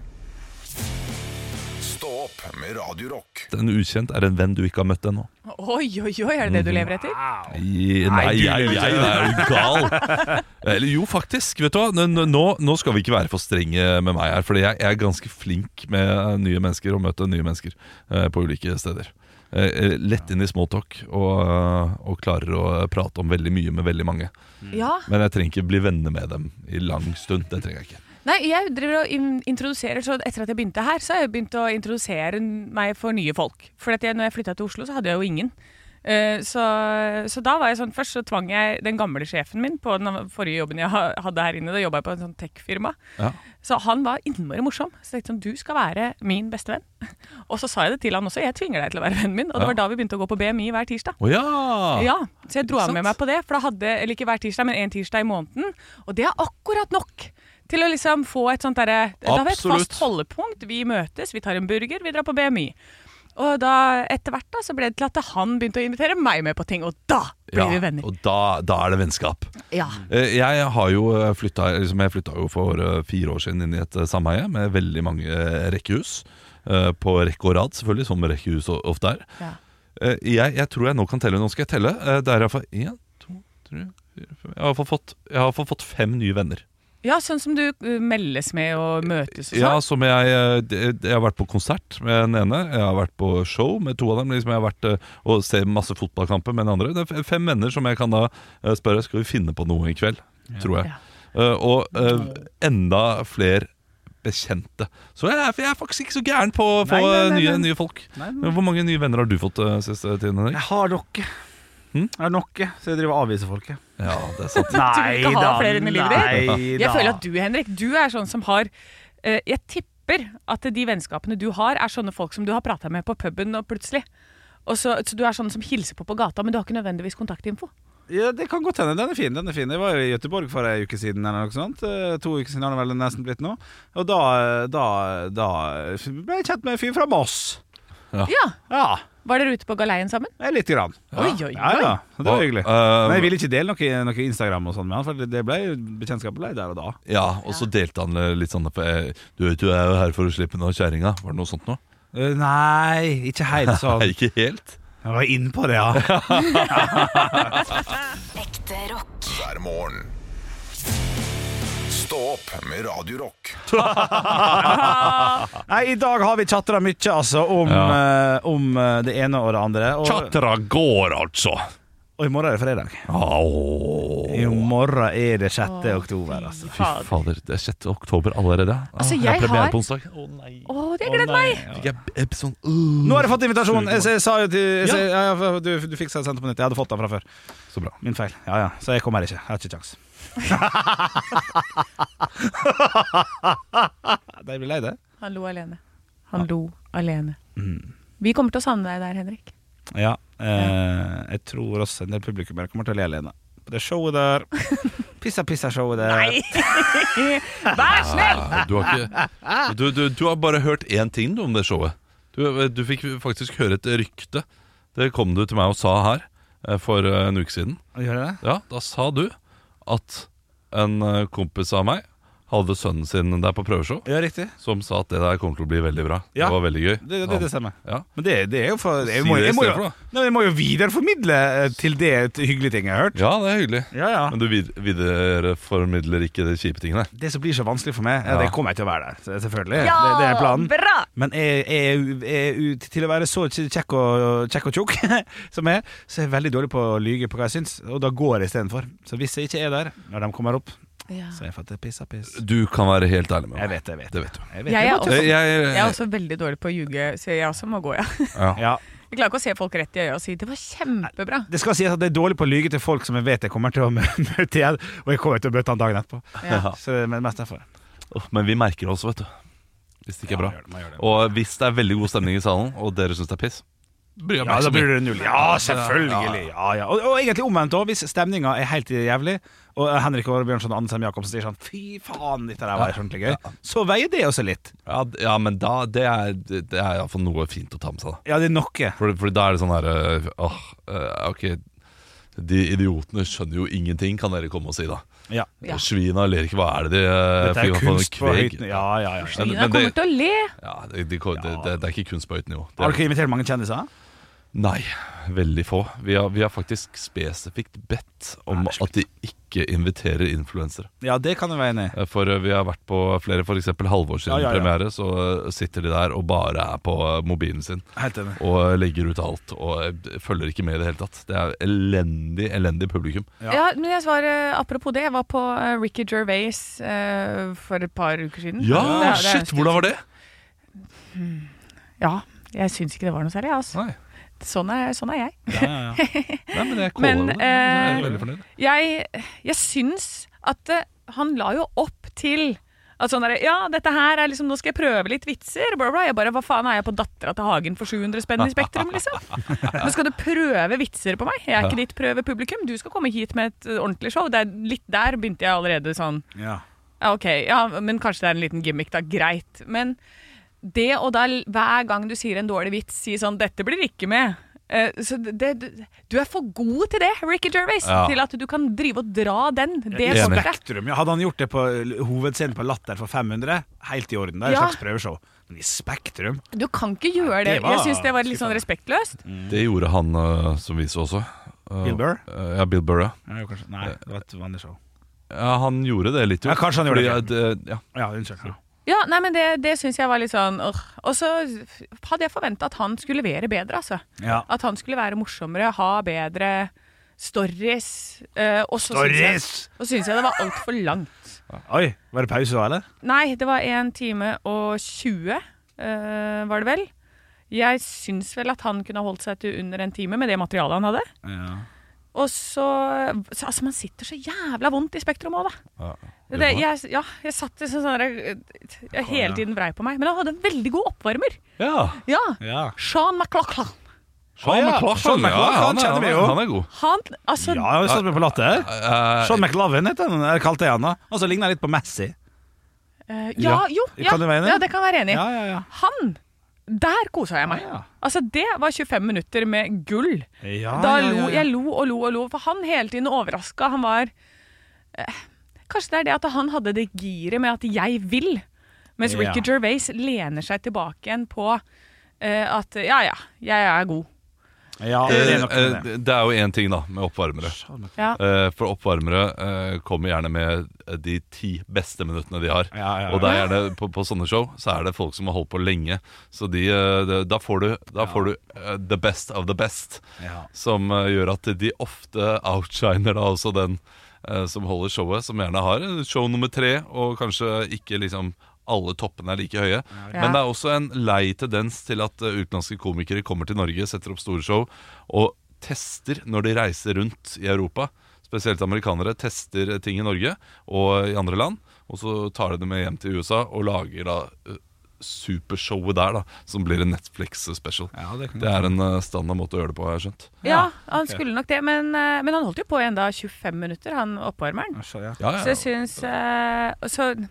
S1: Stå opp med Radio Rock.
S4: En ukjent er en venn du ikke har møtt ennå.
S2: Oi, oi, oi, er det det du lever etter?
S4: I- Nei,
S3: du
S4: jeg,
S3: lever
S4: jeg, jeg er jo gal. *laughs* Eller jo, faktisk. Vet du hva? Nå- Nå, nå- nå skal vi ikke være for strenge med meg her, for jeg, jeg er ganske flink med nye mennesker og møte nye mennesker eh, på ulike steder. Eh, lett inn i småtalk og, eh, og klarer å prate om veldig mye med veldig mange.
S2: Ja.
S4: Men jeg trenger ikke bli venner med dem i lang stund. Det trenger jeg ikke.
S2: Nei, jeg driver og in- introduserer Så etter at jeg begynte her, så har jeg begynt å introdusere meg for nye folk. For at jeg, når jeg flytta til Oslo, så hadde jeg jo ingen. Eh, så, så da var jeg sånn Først så tvang jeg den gamle sjefen min på den forrige jobben jeg ha- hadde her inne. Da jobba jeg på en sånn tech-firma.
S4: Ja.
S2: Så han var innmari morsom. Så jeg tenkte sånn Du skal være min beste venn. *laughs* Og så sa jeg det til han også. Jeg tvinger deg til å være vennen min. Og det
S4: Ja.
S2: var da vi begynte å gå på BMI hver tirsdag.
S4: Å ja!
S2: Ja, så jeg dro
S4: Ah. Ikke
S2: av med
S4: sant?
S2: meg på det. For da hadde, eller ikke hver tirsdag, men en tirsdag i måneden. Og det er akkurat nok til å liksom få et sånt derre Da har vi et
S4: Absolutt.
S2: fast holdepunkt. Vi møtes, vi tar en burger, vi drar på BMI. Og da, etter hvert da, så ble det til at han begynte å invitere meg med på ting, og da
S4: Ja,
S2: blir vi venner.
S4: Og da, da er det vennskap.
S2: Ja.
S4: Eh, Jeg har jo eh, flytta liksom Jeg flytta jo for eh, fire år siden inn i et eh, sameie med veldig mange eh, rekkehus. eh, På rekke og rad, selvfølgelig, som rekkehus o- ofte er.
S2: Ja.
S4: Eh, Jeg, jeg tror jeg nå kan telle. Nå skal jeg telle. Eh, Det er iallfall én, to, tre, fire, fem Jeg har iallfall fått, jeg har i hvert fall fått fem nye venner.
S2: ja, sånn som du uh, meldes med og møtes og
S4: Ja,
S2: sånn.
S4: som jeg, eh, d- jeg har vært på konsert med den ene. Jeg har vært på show med to av dem. Liksom jeg har vært eh, og ser masse fotballkamper med den andre. Det er f- fem venner som jeg kan da eh, spørre Skal vi finne på noe i kveld. Tror jeg. Eh, og eh, enda flere bekjente. Så jeg er, jeg er faktisk ikke så gæren på å få
S3: Nei, nei, nei,
S4: eh, nye,
S3: nei.
S4: nye folk.
S3: Nei,
S4: Men Hvor mange nye venner har du fått eh, siste tiden, Henrik?
S3: Jeg har dere. Jeg har noe, så jeg driver og avviser folket.
S4: Ja, det er sant. *laughs*
S2: Du vil ikke ha flere inn i livet ditt?
S3: nei
S2: Jeg
S3: da.
S2: føler at du, Henrik, du er sånn som har eh, Jeg tipper at de vennskapene du har, er sånne folk som du har prata med på puben og plutselig. Og så, så du er sånn som hilser på på gata, men du har ikke nødvendigvis kontaktinfo.
S3: Ja, Det kan godt hende. Den er fin. den er fin Jeg var jo i Gøteborg for ei uke siden. Eller noe sånt Eh, To uker siden har det vel nesten blitt nå. Og da, da, da ble jeg kjent med en fyr fra Moss.
S2: Ja!
S3: Ja,
S2: Var dere ute på galeien sammen?
S3: eh, lite grann.
S2: Oi, oi, oi.
S3: Ja, *laughs* ja, Det var
S4: Og,
S3: hyggelig.
S4: eh,
S3: Men jeg ville ikke dele noe, noe Instagram og sånn med han, for det ble, bekjentskapet ble der og da.
S4: ja, og så delte han eh, litt sånn for, eh, Du vet jo, jeg er jo her for å slippe unna kjerringa. Var det noe sånt noe?
S3: Eh, Nei, ikke helt
S4: *laughs*
S3: sånn.
S4: Nei, ikke helt.
S3: Jeg var inn på det, *laughs* ja.
S7: Ekte rock.
S1: hver morgen. Stå opp med Radio Rock.
S3: Nei, I dag har vi chatra mye, altså, om, eh, om eh, det ene og det andre. Og,
S4: Chattera går, altså.
S3: og i morgen er det fredag.
S4: Au.
S3: I morgen er det 6. oktober,
S4: *laughs*
S3: altså.
S4: Fy fader, det er 6. oktober allerede.
S2: Altså,
S4: Ah,
S2: jeg
S4: premiere
S2: har-
S4: på onsdag. Å,
S2: Å, det gleder meg!
S4: Fikk jeg eb- sånn uh.
S3: Nå har jeg fått invitasjon! Jeg, jeg sa jo til jeg, sa- ja, Du, du fikk sendt på nytt. Jeg hadde fått den fra før.
S4: Så bra.
S3: Min feil. Ja, ja. Så jeg kommer ikke. Jeg har ikke kjangs. *laughs* De blir lei det.
S2: Han lo alene. Han lo alene. Vi kommer til å savne deg der, Henrik.
S3: Ja, Eh, jeg tror også en del publikummere kommer til å le alene. På det showet der. Pissa, pissa, showet der.
S2: Nei! Vær snill!
S4: Ah, Du har,
S3: *laughs*
S4: ikke, du, du, du har bare hørt én ting du, om det showet. Du, du fikk faktisk høre et rykte. Det kom du til meg og sa her eh, for eh, en uke siden.
S3: Gjør jeg det?
S4: Ja, Da sa du at en eh, kompis av meg hadde sønnen sin der på prøveshow,
S3: Ja, riktig.
S4: som sa at det der kommer til å bli veldig bra.
S3: Ja.
S4: Det var veldig gøy.
S3: Det, det, det stemmer.
S4: Ja.
S3: Men det, det er jo for jeg
S4: Si
S3: må,
S4: det i
S3: jeg, må
S4: stedet for,
S3: jo,
S4: da.
S3: nei, jeg må jo videreformidle eh, til det et hyggelig ting jeg har hørt.
S4: ja, det er hyggelig.
S3: Ja, ja.
S4: Men du vid- videreformidler ikke de kjipe tingene.
S3: Det som blir så vanskelig for meg, ja.
S4: Ja.
S3: det kommer jeg til å være der. Selvfølgelig. det, det er planen.
S2: Bra!
S3: Men jeg, jeg, er u- jeg, er u- til å være så kj- kjekk og, kjekk og tjukk *laughs* som jeg er, så er jeg veldig dårlig på å lyge på hva jeg syns, og da går jeg istedenfor. Så hvis jeg ikke er der når de kommer opp, så er jeg for at det er piss av piss.
S4: Du kan være helt ærlig med
S3: Jeg
S4: meg.
S3: vet det, jeg vet
S4: Det vet du.
S3: Jeg
S2: Jeg er,
S3: det.
S2: også,
S4: Jeg, jeg,
S2: jeg er også veldig dårlig på å ljuge, så jeg også må gå, ja. *laughs*
S4: ja.
S3: Ja.
S2: Jeg klarer ikke å se folk rett i øya og si 'det var kjempebra'.
S3: Det skal sies at det er dårlig på å lyge til folk som jeg vet jeg kommer til å *laughs* mø- møte igjen, og jeg kommer til å møte han dagen etterpå.
S2: Ja.
S3: Så det er mest derfor.
S4: Åh, Men vi merker det også, vet du. Hvis det ikke er bra.
S3: Ja, man gjør det, man gjør det.
S4: Og hvis det er veldig god stemning i salen, og dere syns det er piss bryr jeg
S3: Ja,
S4: meg
S3: da
S4: ikke så
S3: blir
S4: mye.
S3: det null. Ja, selvfølgelig. Ja, ja. Og, og egentlig omvendt òg, hvis stemninga er helt jævlig, og Henrik Åre Bjørnson og Ansem Jacobsen sier sånn Fy faen, dette der var ordentlig gøy, så veier det også litt.
S4: ja, d- ja, men da Det er, det er iallfall noe fint å ta med seg, da.
S3: Ja, det er noe.
S4: For, for da er det sånn herre Åh, eh, ok. De idiotene skjønner jo ingenting, kan dere komme og si da.
S3: Ja.
S2: Ja.
S4: Og svina ler ikke. Hva er det de eh,
S3: Dette er
S4: fyrer på en
S3: kunst på
S4: kveg?
S3: høyt nivå. Ja, ja, ja.
S4: Men-
S2: Ina
S4: men det-
S2: kommer til å le.
S4: Ja, det, det, det, det, det er ikke kunst på høyt nivå. Det
S3: Har
S4: er,
S3: dere invitert mange kjendiser?
S4: nei, veldig få. Vi har, vi har faktisk spesifikt bedt om at de ikke inviterer influensere.
S3: Ja, det kan jeg være enig i.
S4: Eh, For eh, vi har vært på flere, f.eks. halvår siden
S3: Ja, ja, ja.
S4: premiere, så eh, sitter de der og bare er på eh, mobilen sin.
S3: Helt enig.
S4: Og eh, legger ut alt, og eh, følger ikke med i det hele tatt. Det er elendig, elendig publikum.
S3: Ja.
S2: Ja. men jeg var, eh, Apropos det, jeg var på eh, Ricky Gervais eh, for et par uker siden.
S4: Ja,
S2: Det- det er jo
S4: shit, hvordan var det?
S2: Ja, jeg syns ikke det var noe særlig. Altså.
S4: Nei,
S2: Sånn, er, sånn er jeg.
S3: Ja, ja,
S2: *laughs*
S3: ja.
S4: Nei men det er
S2: Men,
S4: kålende.
S2: eh,
S4: Jeg er veldig fornøyd.
S2: Jeg, jeg syns at eh, han la jo opp til at sånn der, ja, dette her er liksom, Nå skal jeg prøve litt vitser. Bla, bla. Jeg bare, Hva faen er jeg på dattera til Hagen for 700 spenn i Spektrum, liksom?
S4: *laughs*
S2: Nå skal du prøve vitser på meg? Jeg er ikke ditt prøvepublikum. Du skal komme hit med et eh, ordentlig show. Det er litt der begynte jeg allerede sånn
S3: Ja.
S2: Ja, Ok, ja, men kanskje det er en liten gimmick da, greit. Men det og da l- hver gang du sier en dårlig vits, si sånn 'dette blir ikke med'. Eh, så det, det- du er for god til det, Ricky Gervais,
S4: Ja.
S2: til at du kan drive og dra den. Det
S4: Enig.
S2: kortet.
S3: Spektrum, ja. Hadde han gjort det på l- hovedscenen på Latter for 500, helt i orden. Det er et
S2: Ja.
S3: slags prøveshow. Men i Spektrum
S2: Du kan ikke gjøre det.
S3: det var
S2: Jeg syns det var litt sånn respektløst.
S4: Det gjorde han eh, som vi så også. Eh,
S3: Mm. Bill Burr?
S4: eh, ja, Bill Burr, ja.
S3: Ja, jo, kanskje. Nei, det var et vanlig show.
S4: ja. Han gjorde det litt, jo.
S3: Ja, kanskje han gjorde
S4: Fordi, eh, det. Ja.
S3: Ja, unnskyld. Ja.
S2: Ja, nei, men Det, det syns jeg var litt sånn åh. Og så hadde jeg forventa at han skulle levere bedre, altså.
S3: Ja.
S2: At han skulle være morsommere, ha bedre stories. eh, og så syns jeg,
S3: Stories!
S2: og syns jeg det var altfor langt.
S3: Oi, var det pause da, eller?
S2: Nei, det var 1 time og 20, eh, var det vel. Jeg syns vel at han kunne holdt seg til under en time med det materialet han hadde.
S3: Ja.
S2: Og så, så Altså, man sitter så jævla vondt i Spektrum òg, da.
S4: Ja.
S2: Det, jeg, ja, jeg satt i sånn sånn derre jeg Hele tiden vrei på meg. Men han hadde en veldig god oppvarmer.
S4: ja.
S2: Ja.
S3: Ja.
S2: Sean McLaughlin.
S4: Sean McLaughlin,
S3: Å, ja. Sean
S4: ja,
S3: McLaughlin,
S4: han, er,
S3: kjenner
S4: han,
S3: vi
S4: er,
S3: jo.
S4: han er god.
S2: Han Altså,
S3: Ja, jeg satt med på latter.
S4: Eh,
S3: Sean McLovin heter han, eller kalte jeg han da. Han som ligner litt på Messi.
S2: eh, ja,
S3: Ja.
S2: jo. Ja,
S3: Kan du være enig?
S2: ja, det kan jeg være enig i.
S3: Ja, ja, ja.
S2: Han! Der kosa jeg meg.
S3: Ja.
S2: Altså, det var 25 minutter med gull.
S3: Ja,
S2: da
S3: Ah, ja, ja,
S2: lo
S3: ja.
S2: jeg lo og lo og lo, for han hele tiden overraska. Han var eh, Kanskje det er det at han hadde det giret med at 'jeg vil', mens
S3: Ja.
S2: Ricky Gervais lener seg tilbake igjen på eh, at 'ja ja, jeg er god'.
S3: Ja, det er
S4: eh,
S3: nok med
S4: eh,
S3: det.
S4: det er jo én ting, da, med oppvarmere.
S2: Ja.
S4: Eh, For oppvarmere eh, kommer gjerne med de ti beste minuttene de har.
S3: Ja, ja, ja.
S4: Og det er gjerne, på, på sånne show så er det folk som har holdt på lenge. Så de, eh, det- da får du, da får du eh, the best of the best.
S3: Ja.
S4: Som eh, gjør at de ofte outshiner da også den eh, som holder showet, som gjerne har eh, show nummer tre, og kanskje ikke liksom alle toppene er like høye. Men det er også en lei tendens til at eh, utenlandske komikere kommer til Norge, setter opp store show og tester når de reiser rundt i Europa. Spesielt amerikanere tester ting i Norge og i andre land. Og så tar de det med hjem til USA og lager da eh, supershowet der, da, som blir en Netflix-special.
S3: Ja, det kan
S4: Det er en eh, standard måte å gjøre det på, har jeg skjønt.
S2: Ja, han skulle nok det, men, eh, men han holdt jo på i enda 25 minutter, han oppvarmeren.
S8: Så, ja.
S4: Ja, ja.
S2: Så jeg syns eh, Så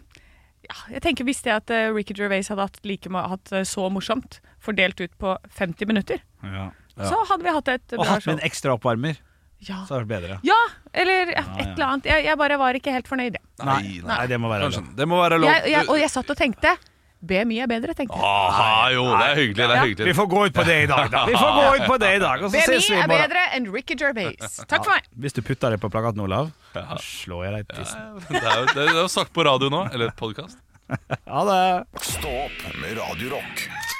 S2: ja, jeg tenker hvis det at eh, Ricky Gervais hadde hatt, like, ma- hatt eh, så morsomt fordelt ut på 50 minutter,
S3: Ja.
S2: så hadde vi hatt et
S3: Og
S2: bra
S3: hatt med
S2: show.
S3: en ekstra oppvarmer,
S2: Ja.
S3: så hadde det vært bedre.
S2: ja, eller ja,
S3: Ah, Ja,
S2: et
S3: ja.
S2: eller annet. Jeg, jeg bare var ikke helt fornøyd. jeg.
S4: Nei, nei.
S3: Nei, det må være
S4: Kanskje. Det må være lov.
S2: Jeg, jeg, og jeg satt og tenkte BMI er bedre, tenkte jeg.
S3: Ah,
S4: Aha, jo, det er hyggelig. Det er hyggelig.
S3: Vi får gå ut på det i dag, da. Vi får gå ut på det i dag, og så ses
S2: BMI
S3: vi i
S2: er
S3: morgen.
S2: bedre enn Ricky
S3: *laughs*
S2: Gervais. Takk for meg.
S3: Hvis du putter det på plakaten, Olav, så slår jeg deg i tissen.
S4: Det er jo det er jo sagt på radio nå, eller podkast.
S3: Ha det!
S1: Stå opp med Radio Rock.